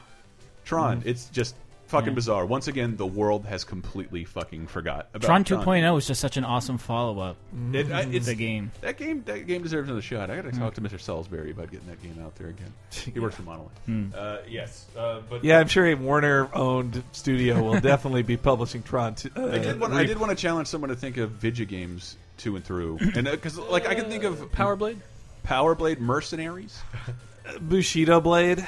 Speaker 1: Tron. It's just fucking
Speaker 4: Yeah.
Speaker 1: bizarre. Once again, the world has completely fucking forgot about
Speaker 4: Tron 2.0 was just such an awesome follow up.
Speaker 1: It- I- Mm-hmm. it's-
Speaker 4: the game.
Speaker 1: That game, that game deserves another shot. I got to talk to Mr. Salisbury about getting that game out there again. He works for Monolith.
Speaker 2: Hmm.
Speaker 1: Uh, yes, uh, but
Speaker 2: yeah, I'm sure a Warner owned studio will definitely be publishing Tron. T- uh,
Speaker 1: I did want. I
Speaker 2: re-
Speaker 1: did want to challenge someone to think of video games to and through, and because like I can think of Power Blade, Power Blade Mercenaries.
Speaker 2: Bushido Blade.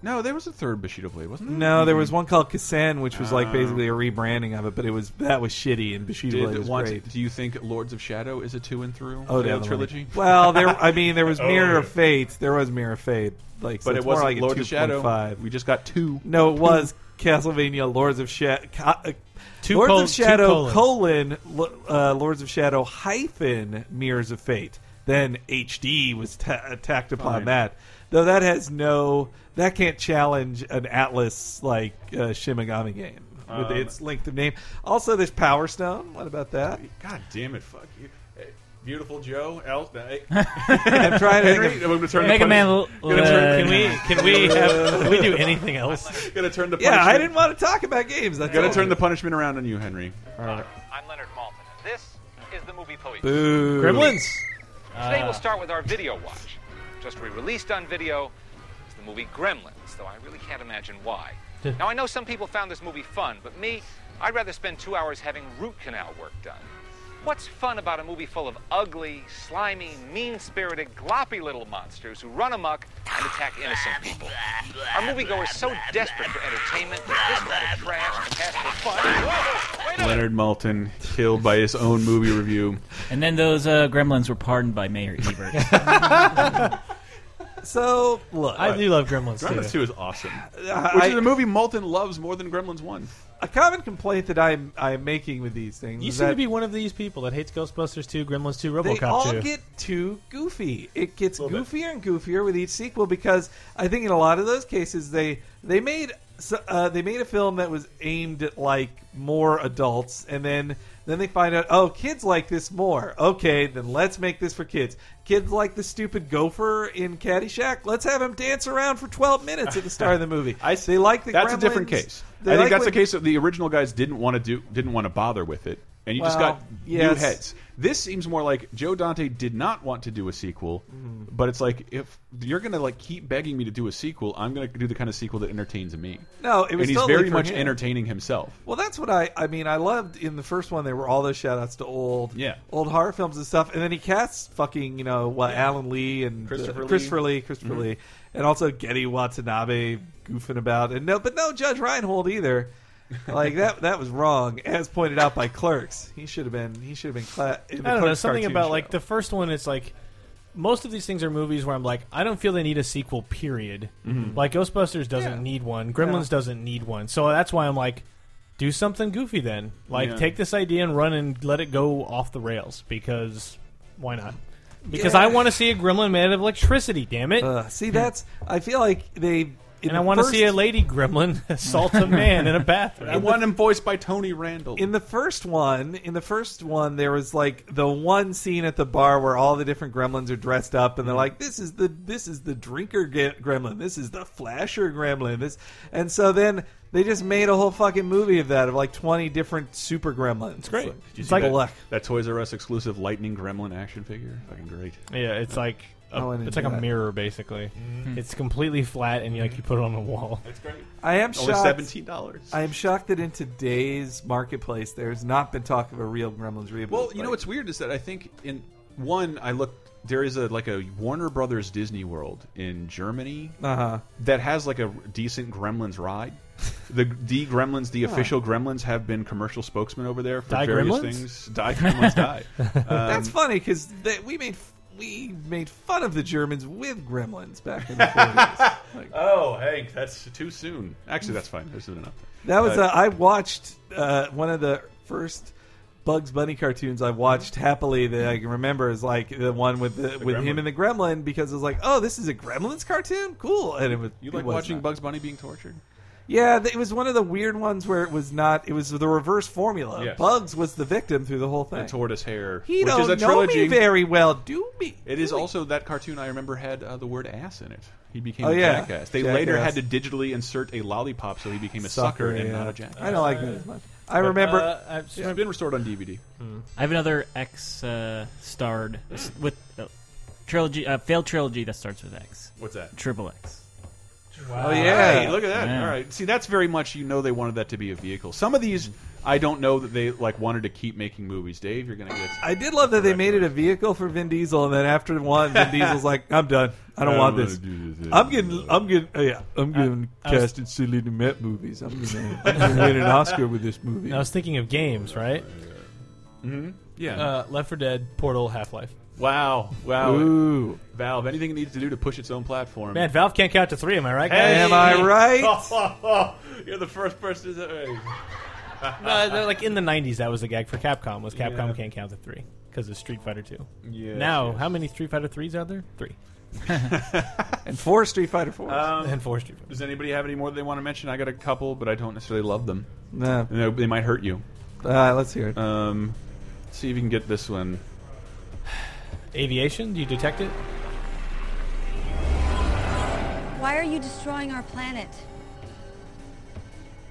Speaker 1: No, there was a third Bushido Blade, wasn't there?
Speaker 2: No, there was one called Kassan, which was like
Speaker 1: Hmm. Oh.
Speaker 2: basically a rebranding of it, but it was that was shitty, and Bushido Blade
Speaker 1: Did
Speaker 2: was
Speaker 1: want-
Speaker 2: great.
Speaker 1: Do you think Lords of Shadow is a two and through?
Speaker 2: Oh,
Speaker 1: Failed
Speaker 2: definitely.
Speaker 1: trilogy.
Speaker 2: Well, there. I mean, there was
Speaker 1: Oh,
Speaker 2: Mirror
Speaker 1: yeah.
Speaker 2: of Fate. There was Mirror of Fate. Like, so
Speaker 1: But it
Speaker 2: it's more
Speaker 1: wasn't
Speaker 2: like a
Speaker 1: Lords of Shadow.
Speaker 2: 2.5.
Speaker 1: We just got two.
Speaker 2: No, it was Castlevania Lords of Shadow.
Speaker 3: Two
Speaker 2: Lords
Speaker 3: col-
Speaker 2: of
Speaker 3: two
Speaker 2: Shadow
Speaker 3: colons.
Speaker 2: colon lo- uh, Lords of Shadow hyphen Mirrors of Fate. Then HD was ta- attacked upon
Speaker 1: Fine.
Speaker 2: that. Though that has no, that can't challenge an Atlas like uh, Shimigami game with
Speaker 1: Um,
Speaker 2: its length of name. Also, there's Power Stone. What about that?
Speaker 1: God damn it! Fuck you. Hey, Beautiful Joe, El.
Speaker 2: I'm
Speaker 1: I'm
Speaker 2: trying to think
Speaker 1: Henry,
Speaker 2: of-
Speaker 1: I'm gonna turn
Speaker 2: Mega
Speaker 1: the punish-
Speaker 2: Man l-
Speaker 1: gonna turn-
Speaker 2: uh,
Speaker 3: Can we have? Can we do anything else?
Speaker 1: Gonna turn the
Speaker 2: Yeah, I
Speaker 1: punishment-
Speaker 2: didn't want to talk about games. That's
Speaker 1: Gonna
Speaker 2: all.
Speaker 1: turn the punishment around on you, Henry.
Speaker 12: I'm Leonard Maltin, and this is the movie Police.
Speaker 1: Boo. Gremlins.
Speaker 12: Today
Speaker 1: Ah.
Speaker 12: we'll start with our video watch. Just re-released on video is the movie Gremlins, though I really can't imagine why. now I know some people found this movie fun, but me, I'd rather spend two hours having root canal work done. What's fun about a movie full of ugly, slimy, mean-spirited, gloppy little monsters who run amok and attack innocent people? Our moviegoers so desperate for entertainment that this kind of trash can pass for fun. Whoa, wait a
Speaker 1: Leonard Maltin killed by his own movie review.
Speaker 4: And then those uh, gremlins were pardoned by Mayor Ebert.
Speaker 2: So look,
Speaker 3: I do love Gremlins.
Speaker 1: Gremlins
Speaker 3: too.
Speaker 1: Two is awesome,
Speaker 2: I-
Speaker 1: which is a movie Maltin loves more than Gremlins One.
Speaker 2: a common complaint that I'm I'm making with these things.
Speaker 3: You
Speaker 2: is
Speaker 3: seem
Speaker 2: that
Speaker 3: to be one of these people that hates Ghostbusters 2, Gremlins 2,
Speaker 2: they
Speaker 3: RoboCop
Speaker 2: all
Speaker 3: 2.
Speaker 2: get too goofy. It gets goofier and goofier with each sequel because I think in a lot of those cases they they made so- uh, they made a film that was aimed at like more adults, and then then they find out oh kids like this more. Okay, then let's make this for kids. Kids like the stupid gopher in Caddyshack. Let's have him dance around for twelve minutes at the start of the movie. I see. They like the
Speaker 1: that's a different
Speaker 2: Gremlins.
Speaker 1: case.
Speaker 2: They
Speaker 1: I think
Speaker 2: like
Speaker 1: that's
Speaker 2: when-
Speaker 1: a case of the original guys didn't want to do, didn't want to bother with it, and you just
Speaker 2: Well,
Speaker 1: got new
Speaker 2: yes.
Speaker 1: heads. This seems more like Joe Dante did not want to do a sequel,
Speaker 2: Mm-hmm.
Speaker 1: but it's like if you're gonna like keep begging me to do a sequel, I'm gonna do the kind of sequel that entertains me.
Speaker 2: No, it was
Speaker 1: and he's
Speaker 2: totally
Speaker 1: very
Speaker 2: for
Speaker 1: much
Speaker 2: him.
Speaker 1: entertaining himself.
Speaker 2: Well, that's what I. I mean, I loved in the first one. There were all those shout outs to old,
Speaker 1: Yeah.
Speaker 2: old horror films and stuff. And then he casts fucking, you know, what Alan Lee and
Speaker 1: Christopher
Speaker 2: uh,
Speaker 1: Lee.
Speaker 2: Christopher Lee, Christopher
Speaker 3: Mm-hmm.
Speaker 1: Mhm.
Speaker 2: Lee, and also Getty Watanabe goofing about. And no, but no Judge Reinhold either. like that. That was wrong, as pointed out by clerks. He should have been. He should have been. Cla- in the
Speaker 3: I don't know
Speaker 2: Clerks
Speaker 3: something
Speaker 2: cartoon
Speaker 3: about
Speaker 2: show.
Speaker 3: like the first one. It's like most of these things are movies where I'm like, I don't feel they need a sequel. Period.
Speaker 2: Mhm.
Speaker 3: Like Ghostbusters doesn't need one. Gremlins doesn't need one. So that's why I'm like, do something goofy then. Like
Speaker 2: Yeah.
Speaker 3: take this idea and run and let it go off the rails because why not? Because
Speaker 2: Yeah.
Speaker 3: I want to see a gremlin made of electricity. Damn it!
Speaker 2: Uh, see, that's. I feel like they. in
Speaker 3: and I
Speaker 2: the
Speaker 3: want to
Speaker 2: first-
Speaker 3: see a lady gremlin assault a man in a bathroom.
Speaker 1: I want him voiced by Tony Randall.
Speaker 2: In the first one, in the first one, there was like the one scene at the bar where all the different gremlins are dressed up, and they're like, "This is the this is the drinker ge- gremlin, this is the flasher gremlin, this," and so then they just made a whole fucking movie of that of like twenty different super gremlins. It's great.
Speaker 1: Did you
Speaker 2: it's
Speaker 1: see
Speaker 2: like
Speaker 1: that, that Toys R Us exclusive Lightning Gremlin action figure? Fucking great.
Speaker 3: Yeah, it's like a,
Speaker 2: Oh, I didn't
Speaker 3: it's like
Speaker 2: do
Speaker 3: a
Speaker 2: that.
Speaker 3: mirror basically.
Speaker 1: Mm-hmm.
Speaker 2: Mhm.
Speaker 3: It's completely flat, and you, like you put it on the wall.
Speaker 1: That's great.
Speaker 2: I am
Speaker 1: Only
Speaker 2: shocked.
Speaker 1: $17.
Speaker 2: I am shocked that in today's marketplace, there's not been talk of a real Gremlins reboot.
Speaker 1: Well, you know
Speaker 2: Like,
Speaker 1: what's weird is that I think in one, I looked. There is a like a Warner Brothers Disney World in Germany
Speaker 2: Uh-huh.
Speaker 1: that has like a decent Gremlins ride. The the Gremlins, the
Speaker 2: Huh.
Speaker 1: official Gremlins, have been commercial spokesmen over there for
Speaker 2: Die
Speaker 1: various
Speaker 2: Gremlins?
Speaker 1: things. Die Gremlins die. Um,
Speaker 2: That's funny because we made we made fun of the Germans with Gremlins back in the 40s.
Speaker 1: oh, Hank, that's too soon. Actually, that's fine. That's soon enough.
Speaker 2: That was
Speaker 1: Uh,
Speaker 2: uh, I watched uh, one of the first Bugs Bunny cartoons I watched happily that I can remember is like the one with the, with him
Speaker 1: Gremlin.
Speaker 2: and the Gremlin because it was like oh this is a Gremlins cartoon cool and it was
Speaker 1: you
Speaker 2: it
Speaker 1: like
Speaker 2: was
Speaker 1: watching
Speaker 2: not.
Speaker 1: Bugs Bunny being tortured?
Speaker 2: yeah th- it was one of the weird ones where it was not it was the reverse formula
Speaker 1: Yes.
Speaker 2: Bugs was the victim through the whole thing
Speaker 1: The tortoise hair.
Speaker 2: He
Speaker 1: which
Speaker 2: don't
Speaker 1: is a
Speaker 2: know me
Speaker 1: trilogy.
Speaker 2: very well, do me?
Speaker 1: It is also that cartoon I remember had uh, the word ass in it. He became
Speaker 2: Oh,
Speaker 1: a
Speaker 2: yeah.
Speaker 1: jackass. They later
Speaker 2: Jackass.
Speaker 1: had to digitally insert a lollipop, so he became a sucker, and
Speaker 2: yeah.
Speaker 1: not a Uh, jackass.
Speaker 2: I don't like that as much I remember
Speaker 4: Uh, I
Speaker 1: It's been restored on DVD.
Speaker 4: I have another X uh, starred with uh, trilogy, uh, failed trilogy that starts with X.
Speaker 1: What's that?
Speaker 4: Triple X.
Speaker 1: Oh yeah, Hey, look at that. All right, see that's very much you know they wanted that to be a vehicle. Some of these I don't know that they like wanted to keep making movies. Dave, you're gonna get.
Speaker 2: I did love that they made it a vehicle for Vin Diesel, and then after one, Vin Diesel's like, "I'm done. I don't,
Speaker 1: I don't
Speaker 2: want
Speaker 1: wanna
Speaker 2: this.
Speaker 1: do this
Speaker 2: I'm getting. I'm getting. oh, yeah, I'm getting
Speaker 3: I was-
Speaker 2: cast in silly Met movies. I'm gonna, I'm gonna win an Oscar with this movie."
Speaker 3: I was thinking of games, right?
Speaker 1: Mm-hmm. Yeah.
Speaker 3: Uh, Left 4 Dead, Portal, Half Life.
Speaker 1: Wow, wow.
Speaker 2: Ooh.
Speaker 1: Valve, anything it needs to do to push its own platform.
Speaker 3: Man, Valve can't count to three. Am I right?
Speaker 1: Hey! Oh.
Speaker 3: guys?
Speaker 1: You're the first person to.
Speaker 3: no, they're like in the '90s, that was the gag for Capcom. Was Capcom
Speaker 1: Yeah.
Speaker 3: can't count to three because of Street Fighter Two.
Speaker 1: Yes,
Speaker 3: now,
Speaker 1: yes.
Speaker 3: how many Street Fighter Threes are there? Three.
Speaker 2: and four Street Fighter fours.
Speaker 1: Um,
Speaker 3: Uh, And four Street Fighter.
Speaker 1: Does anybody have any more they want to mention? I got a couple, but I don't necessarily love them.
Speaker 2: No.
Speaker 1: You know, they might hurt you.
Speaker 2: Uh, let's hear it.
Speaker 1: Um, let's see if you can get this one.
Speaker 3: Aviation? Do you detect it?
Speaker 13: Why are you destroying our planet?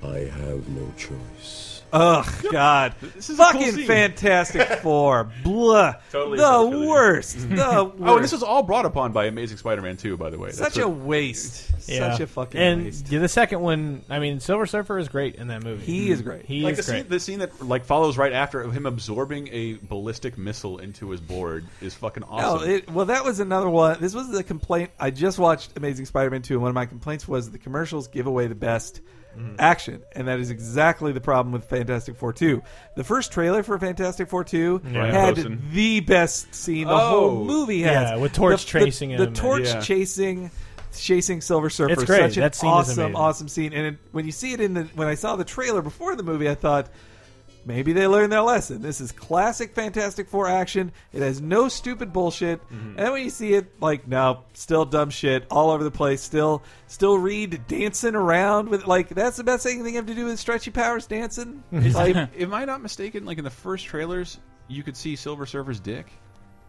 Speaker 14: I have no choice.
Speaker 2: Ugh, God,
Speaker 1: is a cool
Speaker 2: fucking
Speaker 1: scene.
Speaker 2: Fantastic Four, blah, the worst, the worst.
Speaker 1: Oh, and this was all brought upon by Amazing Spider-Man 2, by the way.
Speaker 2: Such a waste. Such a fucking
Speaker 3: and
Speaker 2: waste.
Speaker 3: yeah, the second one, I mean, Silver Surfer is great in that movie. Mm-hmm.
Speaker 2: He is great.
Speaker 3: He
Speaker 1: like
Speaker 3: is
Speaker 1: the
Speaker 3: great.
Speaker 1: scene, the scene that like follows right after of him absorbing a ballistic missile into his board is fucking awesome.
Speaker 2: No, Oh, it, well, that was another one. This was the complaint. I just watched Amazing Spider-Man two, and one of my complaints was the commercials give away the best
Speaker 3: Mm-hmm.
Speaker 2: action, and that is exactly the problem with Fantastic Four two. The first trailer for Fantastic Four two
Speaker 3: Yeah.
Speaker 2: had
Speaker 3: Wilson.
Speaker 2: the best scene the
Speaker 3: Oh.
Speaker 2: whole movie has.
Speaker 3: Yeah, with
Speaker 2: The-
Speaker 3: torch
Speaker 2: the-
Speaker 3: tracing
Speaker 2: the,
Speaker 3: him and-
Speaker 2: torch
Speaker 3: Yeah.
Speaker 2: chasing. Chasing Silver Surfer,
Speaker 3: It's great.
Speaker 2: such an
Speaker 3: That scene is
Speaker 2: awesome,
Speaker 3: amazing.
Speaker 2: awesome scene. And it, when you see it in the, when I saw the trailer before the movie, I thought, Maybe they learned their lesson. This is classic Fantastic Four action. It has no stupid bullshit. And then when you see it, like, no, still dumb shit all over the place. Still, still Reed dancing around with like that's the best thing they have to do with Stretchy Powers dancing.
Speaker 1: Is-
Speaker 2: like,
Speaker 1: am I not mistaken? Like in the first trailers, you could see Silver Surfer's dick.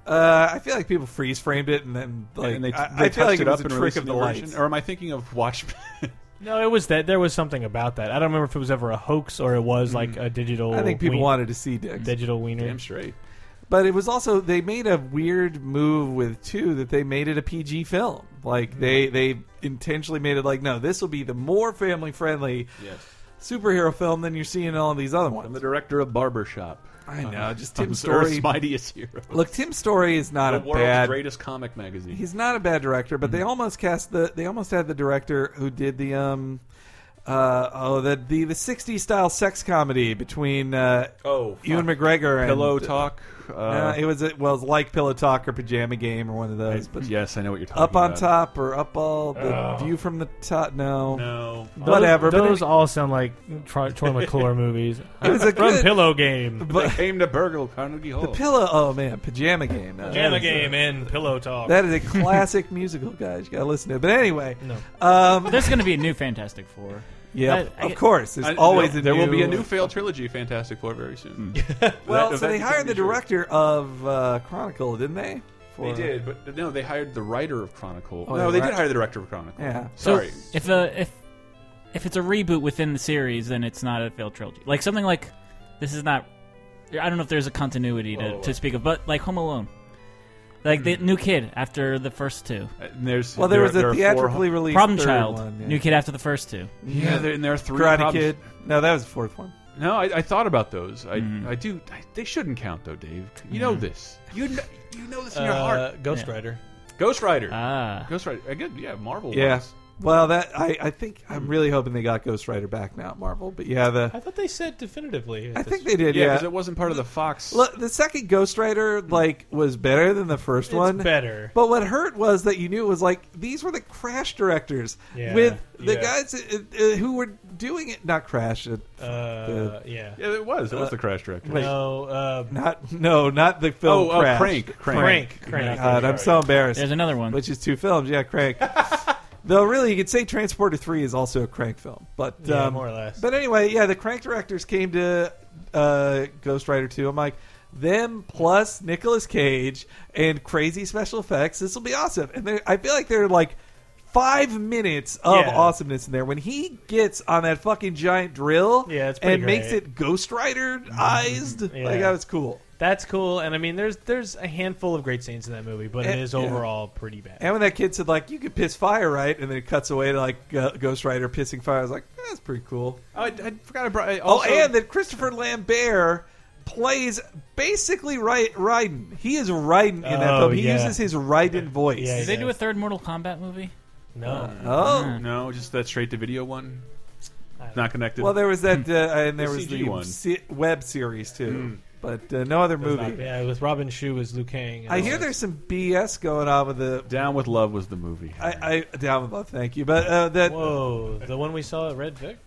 Speaker 2: uh, I feel like people freeze framed it and then like
Speaker 1: and they,
Speaker 2: I-
Speaker 1: they
Speaker 2: I feel
Speaker 1: touched
Speaker 2: like
Speaker 1: it
Speaker 2: it
Speaker 1: up
Speaker 2: was a
Speaker 1: and
Speaker 2: trick
Speaker 1: released
Speaker 2: of the
Speaker 1: new version.
Speaker 2: lights.
Speaker 1: Or am I thinking of Watchmen?
Speaker 3: no, it was that. There was something about that. I don't remember if it was ever a hoax or it was like a digital.
Speaker 2: Mm. I think people
Speaker 3: ween-
Speaker 2: wanted to see dicks.
Speaker 3: digital wiener.
Speaker 1: Damn straight.
Speaker 2: But it was also they made a weird move with two that they made it a PG film.
Speaker 1: Mm-hmm.
Speaker 2: Like they they intentionally made it like no, this will be the more family friendly
Speaker 1: Yes.
Speaker 2: superhero film than you're seeing in all of these other ones.
Speaker 1: I'm the director of Barbershop. Uh,
Speaker 2: I know, just
Speaker 1: I'm
Speaker 2: Tim Story.
Speaker 1: Earth's mightiest hero.
Speaker 2: Look, Tim Story is not
Speaker 1: the
Speaker 2: a
Speaker 1: world's
Speaker 2: bad
Speaker 1: greatest Mm-hmm. comic magazine.
Speaker 2: He's not a bad director, but they almost cast the they almost had the director who did the um uh oh the the the 60s style sex comedy between uh
Speaker 1: Oh, fuck.
Speaker 2: Ewan McGregor and
Speaker 1: Pillow Talk, uh,
Speaker 2: Nah, it was a, well it was like Pillow Talk or Pajama Game or one of those, but
Speaker 1: yes, I know what you're talking
Speaker 2: up on
Speaker 1: about.
Speaker 2: top or up all the
Speaker 1: Ugh.
Speaker 2: view from the top no
Speaker 1: Oh. No.
Speaker 3: Those-
Speaker 2: whatever but
Speaker 3: Those
Speaker 2: it-
Speaker 3: all sound like Troy, Troy McClure movies.
Speaker 2: It was a
Speaker 3: From
Speaker 2: good-
Speaker 3: Pillow Game.
Speaker 1: They came to burgle Carnegie Hall.
Speaker 2: the pillow oh man Pajama Game no,
Speaker 3: Pajama
Speaker 2: that is-
Speaker 3: Game and Pillow Talk.
Speaker 2: that is a classic musical guys you gotta listen to it. but anyway
Speaker 3: No.
Speaker 2: um
Speaker 4: There's going to be a new Fantastic Four.
Speaker 2: Yep,
Speaker 4: I- I-
Speaker 2: of course. There's always
Speaker 1: there,
Speaker 2: a
Speaker 1: there
Speaker 2: new, Hmm.
Speaker 1: will be a new failed trilogy, Fantastic Four, very soon.
Speaker 2: Well,
Speaker 1: That-
Speaker 2: so
Speaker 1: that
Speaker 2: they
Speaker 1: you
Speaker 2: hired
Speaker 1: can
Speaker 2: the
Speaker 1: be sure.
Speaker 2: director of uh, Chronicle, didn't they?
Speaker 1: They
Speaker 2: For-
Speaker 1: did, but no, they hired the writer of Chronicle.
Speaker 2: Oh,
Speaker 1: no,
Speaker 2: the
Speaker 1: they
Speaker 2: wri-
Speaker 1: did hire the director of Chronicle.
Speaker 2: Yeah.
Speaker 4: So
Speaker 1: Sorry.
Speaker 4: if a if if it's a reboot within the series, then it's not a failed trilogy. Like something like this is not. I don't know if there's a continuity to,
Speaker 2: Oh,
Speaker 4: to speak of, but like Home Alone, like
Speaker 2: Hmm.
Speaker 4: the new kid after the first two.
Speaker 1: And there's
Speaker 2: Well, there was a
Speaker 1: are four-
Speaker 2: theatrically released
Speaker 4: Problem
Speaker 2: third
Speaker 4: Child,
Speaker 2: one, yeah.
Speaker 4: new kid after the first two.
Speaker 1: Yeah, there, and there are three
Speaker 2: Karate
Speaker 1: problems.
Speaker 2: Kid. No, that was the fourth one.
Speaker 1: No, I, I thought about those. I,
Speaker 2: Mm-hmm.
Speaker 1: I do. I, they shouldn't count though, Dave. You know
Speaker 3: Mhm.
Speaker 1: this. You know, you know this in your
Speaker 3: Uh,
Speaker 1: heart.
Speaker 3: Ghost Yeah. Rider.
Speaker 1: Ghost Rider.
Speaker 4: Uh,
Speaker 1: Ah. Ghost Rider. Again, yeah, Marvel.
Speaker 2: Yeah.
Speaker 1: ones.
Speaker 2: Well, that I, I think I'm really hoping they got Ghost Rider back now at Marvel. But yeah, the
Speaker 3: I thought they said definitively.
Speaker 2: I think they did.
Speaker 1: Yeah,
Speaker 2: Yeah,
Speaker 1: because it wasn't part of the Fox.
Speaker 2: Look, the second Ghost Rider like was better than the first
Speaker 3: It's
Speaker 2: one.
Speaker 3: better.
Speaker 2: but what hurt was that you knew it was like these were the Crash directors
Speaker 3: Yeah.
Speaker 2: with the
Speaker 3: Yeah.
Speaker 2: guys uh, uh, who were doing it. Not Crash. Uh,
Speaker 3: Uh, yeah. Yeah,
Speaker 1: it was. It was the Crash director.
Speaker 2: wait.
Speaker 3: No, uh,
Speaker 2: not no, not the
Speaker 1: Oh,
Speaker 2: film.
Speaker 1: oh,
Speaker 2: Crash.
Speaker 1: Crank, Crank. Crank, Crank.
Speaker 2: God, I'm so embarrassed.
Speaker 4: There's another one,
Speaker 2: which is two films. Yeah, Crank. Though really, you could say Transporter Three is also a Crank film, but
Speaker 3: Yeah,
Speaker 2: um,
Speaker 3: more or less.
Speaker 2: But anyway, yeah, the Crank directors came to uh, Ghost Rider Two. I'm like, them plus Nicolas Cage and crazy special effects. This will be awesome. And they're- I feel like they're like. Five minutes of
Speaker 3: Yeah.
Speaker 2: awesomeness in there when he gets on that fucking giant drill,
Speaker 3: Yeah, it's pretty
Speaker 2: and makes
Speaker 3: great. Mm-hmm.
Speaker 2: it Ghost Rider ized.
Speaker 3: Yeah.
Speaker 2: Like that was cool.
Speaker 3: That's cool, and I mean, there's there's a handful of great scenes in that movie, but it
Speaker 2: And-
Speaker 3: is
Speaker 2: Eh, yeah. Eh,
Speaker 3: overall pretty bad.
Speaker 2: And when that kid said like, "You could piss fire, right?" and then it cuts away to like uh, Ghost Rider pissing fire, I was like, "Eh, "That's pretty cool."
Speaker 1: Oh, I, I forgot I brought. I also-
Speaker 2: oh, and that Christopher Lambert plays basically right Raiden. He is Raiden in that
Speaker 3: Oh,
Speaker 2: film. He
Speaker 3: yeah.
Speaker 2: uses his Raiden voice.
Speaker 4: Did they do a third Mortal Kombat movie?
Speaker 1: Uh,
Speaker 3: Mm-hmm.
Speaker 2: Oh.
Speaker 1: no, just that straight to video one. It's Not connected.
Speaker 2: Well, there was
Speaker 3: Hmm.
Speaker 2: that, uh, and there
Speaker 1: The
Speaker 2: was
Speaker 1: CG
Speaker 2: the
Speaker 1: one.
Speaker 2: se- web series too,
Speaker 1: Mm.
Speaker 2: but uh, no other
Speaker 3: It Hmm. was not
Speaker 2: movie.
Speaker 3: bad. with Robin Shu as Liu Kang. and
Speaker 2: I
Speaker 3: all
Speaker 2: hear
Speaker 3: that.
Speaker 2: there's some BS going on with the
Speaker 1: Down with Love was the movie.
Speaker 2: I, I down with love, thank you, but uh, that
Speaker 3: Whoa, the one we saw at Red Vic.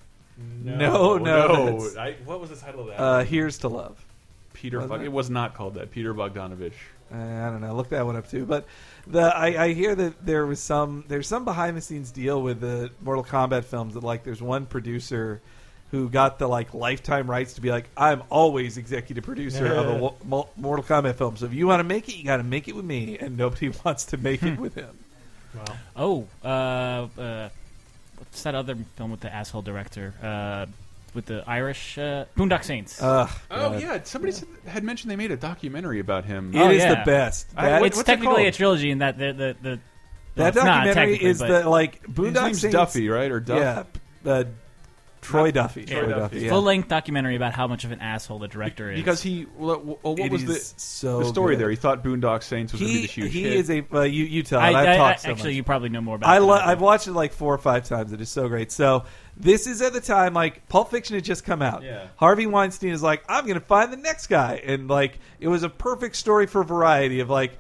Speaker 2: No, no,
Speaker 1: no.
Speaker 2: that's-
Speaker 1: I, what was the title of that?
Speaker 2: Uh, Here's to Love.
Speaker 1: Peter.
Speaker 2: Wasn't
Speaker 1: Bog-
Speaker 2: it?
Speaker 1: it was not called that. Peter Bogdanovich.
Speaker 2: Uh, I don't know. Look that one up too. But the I, I hear that there was some there's some behind the scenes deal with the Mortal Kombat films that like there's one producer who got the like lifetime rights to be like I'm always executive producer of a wo- mo- Mortal Kombat film. So if you want to make it, you got to make it with me, and nobody wants to make it with him.
Speaker 4: Oh, uh, uh, what's that other film with the asshole director? Uh, with the Irish uh, Boondock Saints.
Speaker 1: Oh yeah, somebody Said, had mentioned they made a documentary about him.
Speaker 4: It is
Speaker 1: I- what-
Speaker 4: it's
Speaker 1: what's it
Speaker 4: technically a
Speaker 1: called?
Speaker 4: trilogy in that the the, the well,
Speaker 2: that
Speaker 4: it's not
Speaker 2: documentary
Speaker 4: technically,
Speaker 2: is
Speaker 4: but-
Speaker 2: the like
Speaker 1: His
Speaker 2: Boondock
Speaker 1: name's
Speaker 2: Saints-
Speaker 1: Duffy, right? Or Duff?
Speaker 2: Yeah, uh, Troy Duffy.
Speaker 4: Yeah.
Speaker 2: Troy Duffy. yeah.
Speaker 4: Full length documentary about how much of an asshole the director is.
Speaker 1: because he. Well, well, what
Speaker 4: It
Speaker 1: was the
Speaker 4: is so
Speaker 1: the story
Speaker 4: good.
Speaker 1: there? He thought Boondock Saints was going to be the huge
Speaker 2: he
Speaker 1: hit.
Speaker 2: is a well, you you tell
Speaker 4: I-
Speaker 2: it. I've
Speaker 4: I-
Speaker 2: talked
Speaker 4: I-
Speaker 2: so
Speaker 4: actually,
Speaker 2: much.
Speaker 4: you probably know more about
Speaker 2: I
Speaker 4: it than
Speaker 2: lo-
Speaker 4: I do.
Speaker 2: I've watched it like four or five times. It is so great. So this is at the time like Pulp Fiction had just come out.
Speaker 15: Yeah.
Speaker 2: Harvey Weinstein is like, I'm going to find the next guy, and like it was a perfect story for variety of like.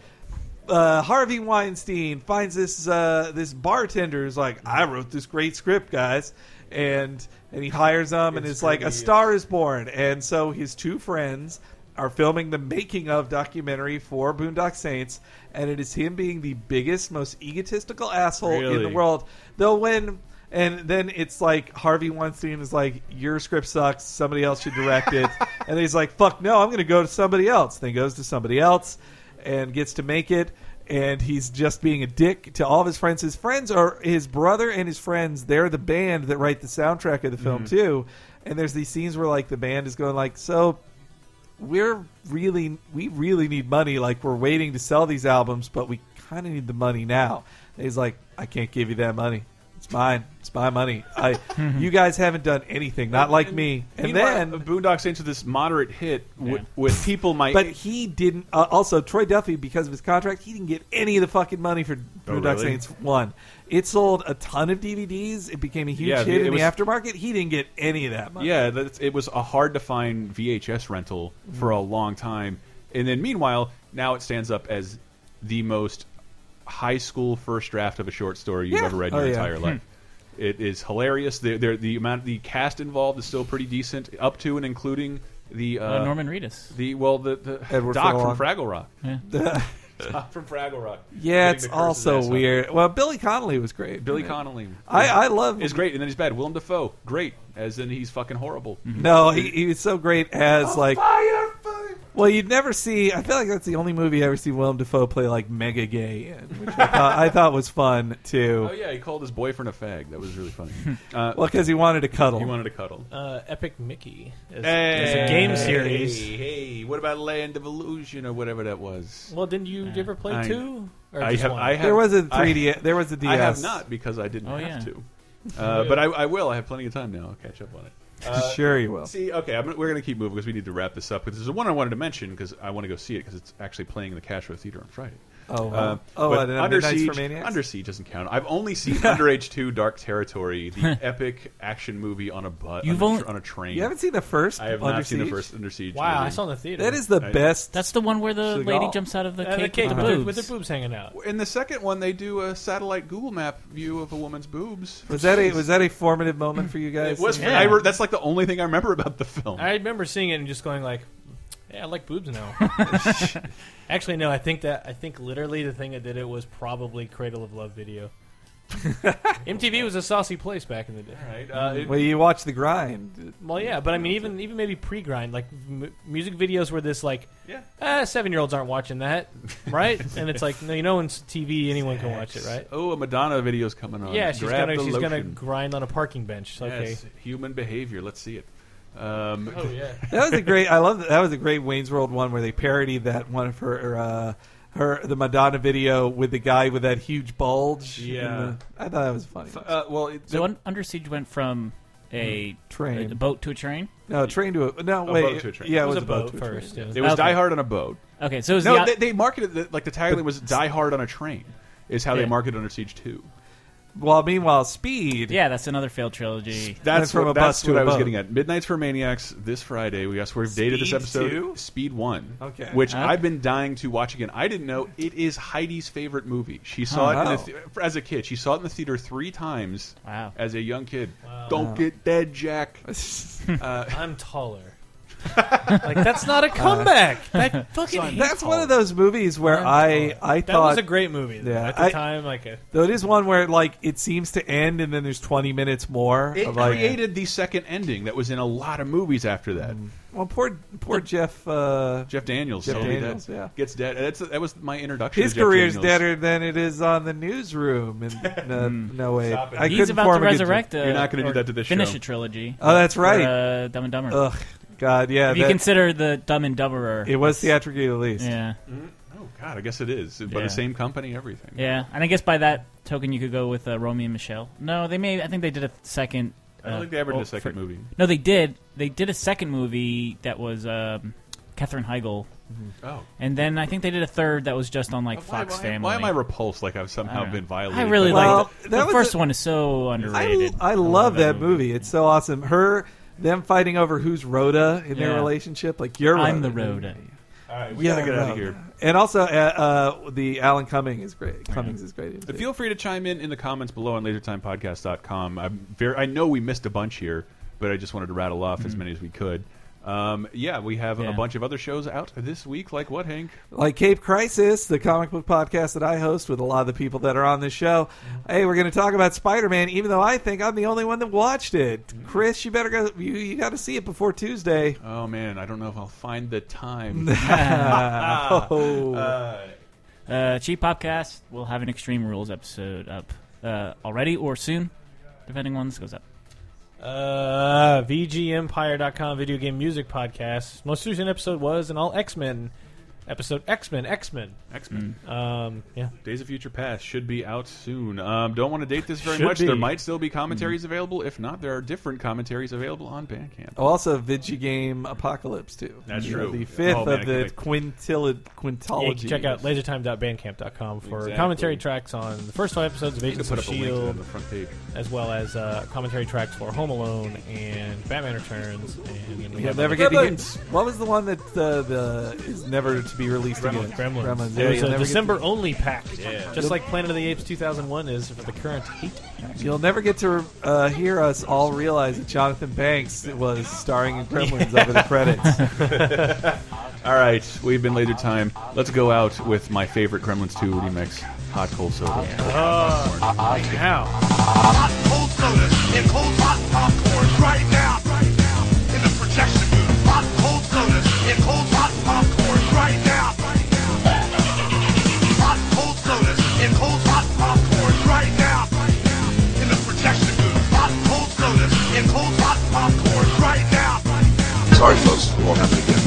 Speaker 2: Uh, Harvey Weinstein finds this uh, this bartender who's like, I wrote this great script, guys, and and he hires him, and it's like a
Speaker 15: pretty-
Speaker 2: Star is Born, and so his two friends are filming the making of documentary for Boondock Saints, and it is him being the biggest, most egotistical asshole in the
Speaker 15: Really?
Speaker 2: world. Though when and then it's like Harvey Weinstein is like, "Your script sucks. Somebody else should direct it," and he's like, "Fuck no, I'm going to go to somebody else." Then goes to somebody else and gets to make it. And he's just being a dick to all of his friends. His friends are his brother and his friends. They're the band that write the soundtrack of the film
Speaker 15: Mhm.
Speaker 2: too. And there's these scenes where like the band is going like, "So we're really we really need money like we're waiting to sell these albums but we kind of need the money now And he's like i can't give you that money it's mine it's my money i you guys haven't done anything not like me and
Speaker 1: Meanwhile,
Speaker 2: then
Speaker 1: Boondock Saints was this moderate hit wi- with people my
Speaker 2: but he didn't uh, also troy duffy because of his contract he didn't get any of the fucking money for
Speaker 1: Oh,
Speaker 2: boondock
Speaker 1: really?
Speaker 2: saints 1 it sold a ton of dvds it became a huge
Speaker 1: Yeah,
Speaker 2: hit
Speaker 1: it
Speaker 2: in
Speaker 1: was-
Speaker 2: the aftermarket he didn't get any of that money
Speaker 1: Yeah, that's, it was a hard to find VHS rental for a long time, and then meanwhile, now it stands up as the most high school first draft of a short story you've
Speaker 2: Yeah. Hmm.
Speaker 1: ever read in
Speaker 2: Oh,
Speaker 1: your
Speaker 2: yeah.
Speaker 1: entire life. It is hilarious. They're, they're- the amount, the cast involved is still pretty decent, up to and including the uh,
Speaker 4: Uh, Norman Reedus.
Speaker 1: the well, the, the
Speaker 2: Edward
Speaker 1: Doc
Speaker 2: Furlong.
Speaker 1: from Fraggle Rock.
Speaker 2: Yeah.
Speaker 1: Doc from Fraggle Rock.
Speaker 2: Yeah,
Speaker 1: Getting
Speaker 2: it's
Speaker 1: the curse his
Speaker 2: also
Speaker 1: ass off.
Speaker 2: weird. Well, Billy Connolly was great.
Speaker 1: Billy
Speaker 2: Yeah.
Speaker 1: Connolly.
Speaker 2: I, I love.
Speaker 1: Is great, and then he's bad. Willem Dafoe, great, as in he's fucking horrible.
Speaker 3: Mm-hmm.
Speaker 2: No, he, he was so great as
Speaker 1: Oh,
Speaker 2: like. Well, you'd never see. I feel like that's the only movie I ever see Willem Dafoe play like mega gay in, which I thought, I thought was fun too.
Speaker 1: Oh yeah, he called his boyfriend a fag. That was really funny.
Speaker 3: Hmm.
Speaker 1: Uh,
Speaker 2: Well, because he wanted to cuddle.
Speaker 1: He wanted to cuddle.
Speaker 3: Uh, Epic Mickey as,
Speaker 1: Hey,
Speaker 3: as a game series.
Speaker 1: Hey, hey, what about Land of Illusion or whatever that was?
Speaker 3: Well, didn't you ever play
Speaker 1: I-
Speaker 3: two? Or
Speaker 1: I
Speaker 3: just
Speaker 1: have,
Speaker 3: one?
Speaker 1: I have,
Speaker 2: There was a
Speaker 1: I-
Speaker 2: 3D there was a
Speaker 1: I have
Speaker 2: DS.
Speaker 1: not because I didn't
Speaker 2: Oh,
Speaker 1: have
Speaker 2: yeah.
Speaker 1: to. Uh, but I, I will. I have plenty of time now. I'll catch up on it.
Speaker 2: Sure you will.
Speaker 1: See, okay, I'm, we're going to keep moving because we need to wrap this up. Because there's one I wanted to mention because I want to go see it because it's actually playing in the Castro Theater on Friday.
Speaker 2: Oh, wow. Oh,
Speaker 1: but
Speaker 2: uh, the
Speaker 1: Under
Speaker 2: Midnights for
Speaker 1: Siege,
Speaker 2: Maniacs?
Speaker 1: Under Siege doesn't count. I've only seen Underage Two, Dark Territory, the epic action movie on a bus,
Speaker 4: You've
Speaker 1: on, a
Speaker 4: only-
Speaker 1: tr- on a train.
Speaker 2: You haven't seen the first
Speaker 1: I have
Speaker 2: Under
Speaker 1: not seen
Speaker 2: Siege?
Speaker 1: the first Under Siege.
Speaker 3: Wow,
Speaker 1: movie.
Speaker 3: I saw it in the theater.
Speaker 2: That is the
Speaker 1: I-
Speaker 2: best.
Speaker 4: That's the one where the
Speaker 2: Seagal.
Speaker 4: lady jumps out of the
Speaker 3: Uh,
Speaker 4: cake, with the
Speaker 3: with,
Speaker 4: boobs.
Speaker 3: the, with the boobs hanging out.
Speaker 1: In the second one, they do a satellite Google Map view of a woman's boobs.
Speaker 2: Was that a was that a formative moment for you guys?
Speaker 1: It was.
Speaker 3: Yeah.
Speaker 1: I re- that's like the only thing I remember about the film.
Speaker 3: I remember seeing it and just going like, "Yeah, I like boobs now." Actually, no. I think that I think literally the thing that did it was probably Cradle of Love video. MTV was a saucy place back in the day.
Speaker 1: All right, uh, it-
Speaker 2: well, you watch the grind.
Speaker 3: Well, yeah, but I mean, even even maybe pre-grind, like m- music videos were this like,
Speaker 1: Yeah.
Speaker 3: ah, seven-year-olds aren't watching that, right? and it's like, no, you know, on TV anyone can watch it, right?
Speaker 1: Oh, a Madonna video's coming on.
Speaker 3: Yeah, she's
Speaker 1: Grab
Speaker 3: gonna
Speaker 1: the
Speaker 3: she's gonna
Speaker 1: lotion.
Speaker 3: grind on a parking bench. Okay.
Speaker 1: Yes, human behavior. Let's see it. Um,
Speaker 3: Oh yeah.
Speaker 2: That was a great. I love that. That was a great Wayne's World one where they parodied that one of her. Uh, her the Madonna video with the guy with that huge bulge. in
Speaker 1: Yeah.
Speaker 2: the- I thought that was funny.
Speaker 1: Uh, well, it,
Speaker 4: so un- Under Siege went from a
Speaker 2: Train.
Speaker 4: a boat to a train.
Speaker 2: No, train to a no
Speaker 1: A
Speaker 2: wait.
Speaker 1: boat to a train.
Speaker 2: Yeah,
Speaker 1: It
Speaker 2: it
Speaker 1: was
Speaker 2: was,
Speaker 1: a
Speaker 2: a boat,
Speaker 3: boat
Speaker 2: to a
Speaker 3: first,
Speaker 2: train.
Speaker 3: yeah.
Speaker 1: it was
Speaker 4: Okay.
Speaker 1: Die Hard on a boat.
Speaker 4: Okay, so it was
Speaker 1: No,
Speaker 4: the,
Speaker 1: they, they marketed it like the tagline was Die Hard on a train. Is how they
Speaker 4: Yeah.
Speaker 1: marketed Under Siege Two.
Speaker 2: Well, meanwhile, Speed.
Speaker 4: yeah, that's another failed trilogy.
Speaker 1: That's
Speaker 2: from
Speaker 1: what,
Speaker 2: a bus
Speaker 1: that's
Speaker 2: to
Speaker 1: what
Speaker 2: a
Speaker 1: I was
Speaker 2: boat.
Speaker 1: getting at. Midnight's for Maniacs this Friday. We guess we've dated this
Speaker 2: Speed
Speaker 1: episode.
Speaker 2: two?
Speaker 1: Speed One,
Speaker 2: Okay.
Speaker 1: which
Speaker 4: Okay.
Speaker 1: I've been dying to watch again. I didn't know it is Heidi's favorite movie. She saw
Speaker 2: Oh,
Speaker 1: it in
Speaker 2: wow.
Speaker 1: the th- as a kid. She saw it in the theater three times
Speaker 4: Wow.
Speaker 1: as a young kid. Don't get dead, Jack. uh,
Speaker 3: I'm taller. like that's not a
Speaker 2: Uh,
Speaker 3: comeback. that fucking. hates
Speaker 2: That's one
Speaker 3: taller.
Speaker 2: of those movies where I I
Speaker 3: That was
Speaker 2: thought
Speaker 3: a great movie. though.
Speaker 2: Yeah,
Speaker 3: at the
Speaker 2: I-
Speaker 3: time, like a
Speaker 2: though it is one where like it seems to end and then there's 20 minutes more.
Speaker 1: it
Speaker 2: of, like,
Speaker 1: created the second ending that was in a lot of movies after that.
Speaker 2: Well, poor poor Jeff. Uh,
Speaker 1: Jeff Daniels,
Speaker 2: Hmm. Jeff
Speaker 1: totally
Speaker 2: Daniels,
Speaker 1: dead.
Speaker 2: yeah.
Speaker 1: gets dead. That's that was my introduction.
Speaker 2: his
Speaker 1: to Jeff
Speaker 2: career's
Speaker 1: Daniels.
Speaker 2: deadder than it is on the newsroom. And no, no
Speaker 1: Mm.
Speaker 2: way,
Speaker 1: Stop it.
Speaker 2: I
Speaker 4: He's
Speaker 2: couldn't
Speaker 4: about to
Speaker 2: form a good
Speaker 4: resurrect. A,
Speaker 1: You're not gonna do
Speaker 4: or
Speaker 1: that to this
Speaker 4: Finish
Speaker 1: show.
Speaker 4: a trilogy.
Speaker 2: Oh, that's
Speaker 4: For,
Speaker 2: right.
Speaker 4: uh, Dumb and Dumber.
Speaker 2: ju- Ugh, God, yeah,
Speaker 4: if you
Speaker 2: that-
Speaker 4: consider the Dumb and Dumberer,
Speaker 2: it was theatrically released.
Speaker 4: Yeah,
Speaker 1: Oh God, I guess it is by
Speaker 4: Yeah.
Speaker 1: the same company. Everything.
Speaker 4: yeah, and I guess by that token, you could go with uh, Romeo and Michelle. No, they may. I think they did a second.
Speaker 1: I don't
Speaker 4: uh,
Speaker 1: think they ever
Speaker 4: well,
Speaker 1: did a second
Speaker 4: for-
Speaker 1: movie.
Speaker 4: No, they did. They did a second movie that was um, Katherine Heigl,
Speaker 1: Oh.
Speaker 4: and then I think they did a third that was just on like
Speaker 1: Why-
Speaker 4: Fox
Speaker 1: why,
Speaker 4: Family.
Speaker 1: Why am I repulsed? Like I've
Speaker 4: I don't
Speaker 1: somehow
Speaker 4: know.
Speaker 1: been violated.
Speaker 4: I really
Speaker 1: by
Speaker 2: Well,
Speaker 4: like the,
Speaker 2: that
Speaker 4: the
Speaker 2: was
Speaker 4: first
Speaker 2: a-
Speaker 4: one is so
Speaker 2: I,
Speaker 4: underrated.
Speaker 2: I love that movie. It's so awesome. Her them fighting over who's Rhoda in their
Speaker 4: Yeah.
Speaker 2: relationship. Like you're Rhoda.
Speaker 4: I'm the Rhoda.
Speaker 1: All right, we
Speaker 2: Yeah,
Speaker 1: gotta get out
Speaker 2: Rhoda.
Speaker 1: of here.
Speaker 2: And also, uh, uh, the Alan Cumming is great. Cummings is great.
Speaker 1: But Feel free to chime in in the comments below on LaserTimePodcast.com. I'm very. I know we missed a bunch here, but I just wanted to rattle off as many as we could. Um, yeah, we have a
Speaker 4: Mm-hmm. Yeah.
Speaker 1: bunch of other shows out this week. Like what, Hank?
Speaker 2: like Cape Crisis, the comic book podcast that I host with a lot of the people that are on this show. Hey, we're going to talk about Spider Man, even though I think I'm the only one that watched it.
Speaker 4: Mm-hmm.
Speaker 2: Chris, you better go. You, you got to see it before Tuesday.
Speaker 1: Oh man, I don't know if I'll find the time.
Speaker 2: Oh.
Speaker 4: Uh, Cheap Popcast will have an Extreme Rules episode up uh, already or soon, depending on when this goes up.
Speaker 3: uh, VGEmpire.com video game music podcast. Most recent episode was an all X Men episode. X Men, X Men.
Speaker 1: X Men
Speaker 3: Um, yeah.
Speaker 1: Days of Future Past should be out soon. Um, don't want to date this very
Speaker 3: Should
Speaker 1: much.
Speaker 3: be.
Speaker 1: There might still be Mm-hmm. commentaries available. If not, there are different commentaries available on Bandcamp.
Speaker 2: Oh, Also, Vigigame Apocalypse, too.
Speaker 1: That's
Speaker 2: You know,
Speaker 1: true.
Speaker 2: The fifth
Speaker 1: Oh, man, I
Speaker 2: of
Speaker 1: can't
Speaker 2: the
Speaker 1: wait.
Speaker 2: quintilla,
Speaker 3: Yeah, you
Speaker 2: quintology.
Speaker 3: can check out lasertime.bandcamp.com for
Speaker 1: Exactly.
Speaker 3: commentary tracks on the first five episodes of
Speaker 1: You
Speaker 3: Agents
Speaker 1: can put
Speaker 3: of
Speaker 1: up a link to that on the
Speaker 3: S.H.I.E.L.D.,
Speaker 1: front page.
Speaker 3: E as well as uh, commentary tracks for Home Alone and Batman Returns. And then we
Speaker 2: You'll
Speaker 3: have
Speaker 2: never
Speaker 3: other-
Speaker 2: get to hear, What was the one that uh, the is never to be released again?
Speaker 3: Gremlins.
Speaker 2: Gremlins. Yeah,
Speaker 3: There's
Speaker 1: uh,
Speaker 2: you'll
Speaker 3: a
Speaker 2: never get
Speaker 3: December only pack. Just
Speaker 2: Yep.
Speaker 3: like Planet of the Apes 2001 is for the current heat.
Speaker 2: to- You'll never get to uh, hear us all realize that Jonathan Banks was starring in Gremlins over the credits.
Speaker 1: All right, we've been laser time. Let's go out with my favorite Gremlins 2 remix, Hot Cold Soda.
Speaker 3: Right now.
Speaker 11: Hot cold soda and cold hot popcorn right now. Right now. In the projection booth. Hot cold soda and cold hot popcorn right now. Right now. Hot cold soda and cold hot popcorn right now. Right now. In the projection booth. Hot cold soda and cold hot popcorn right now. Right now.
Speaker 14: Sorry, folks. It won't happen again.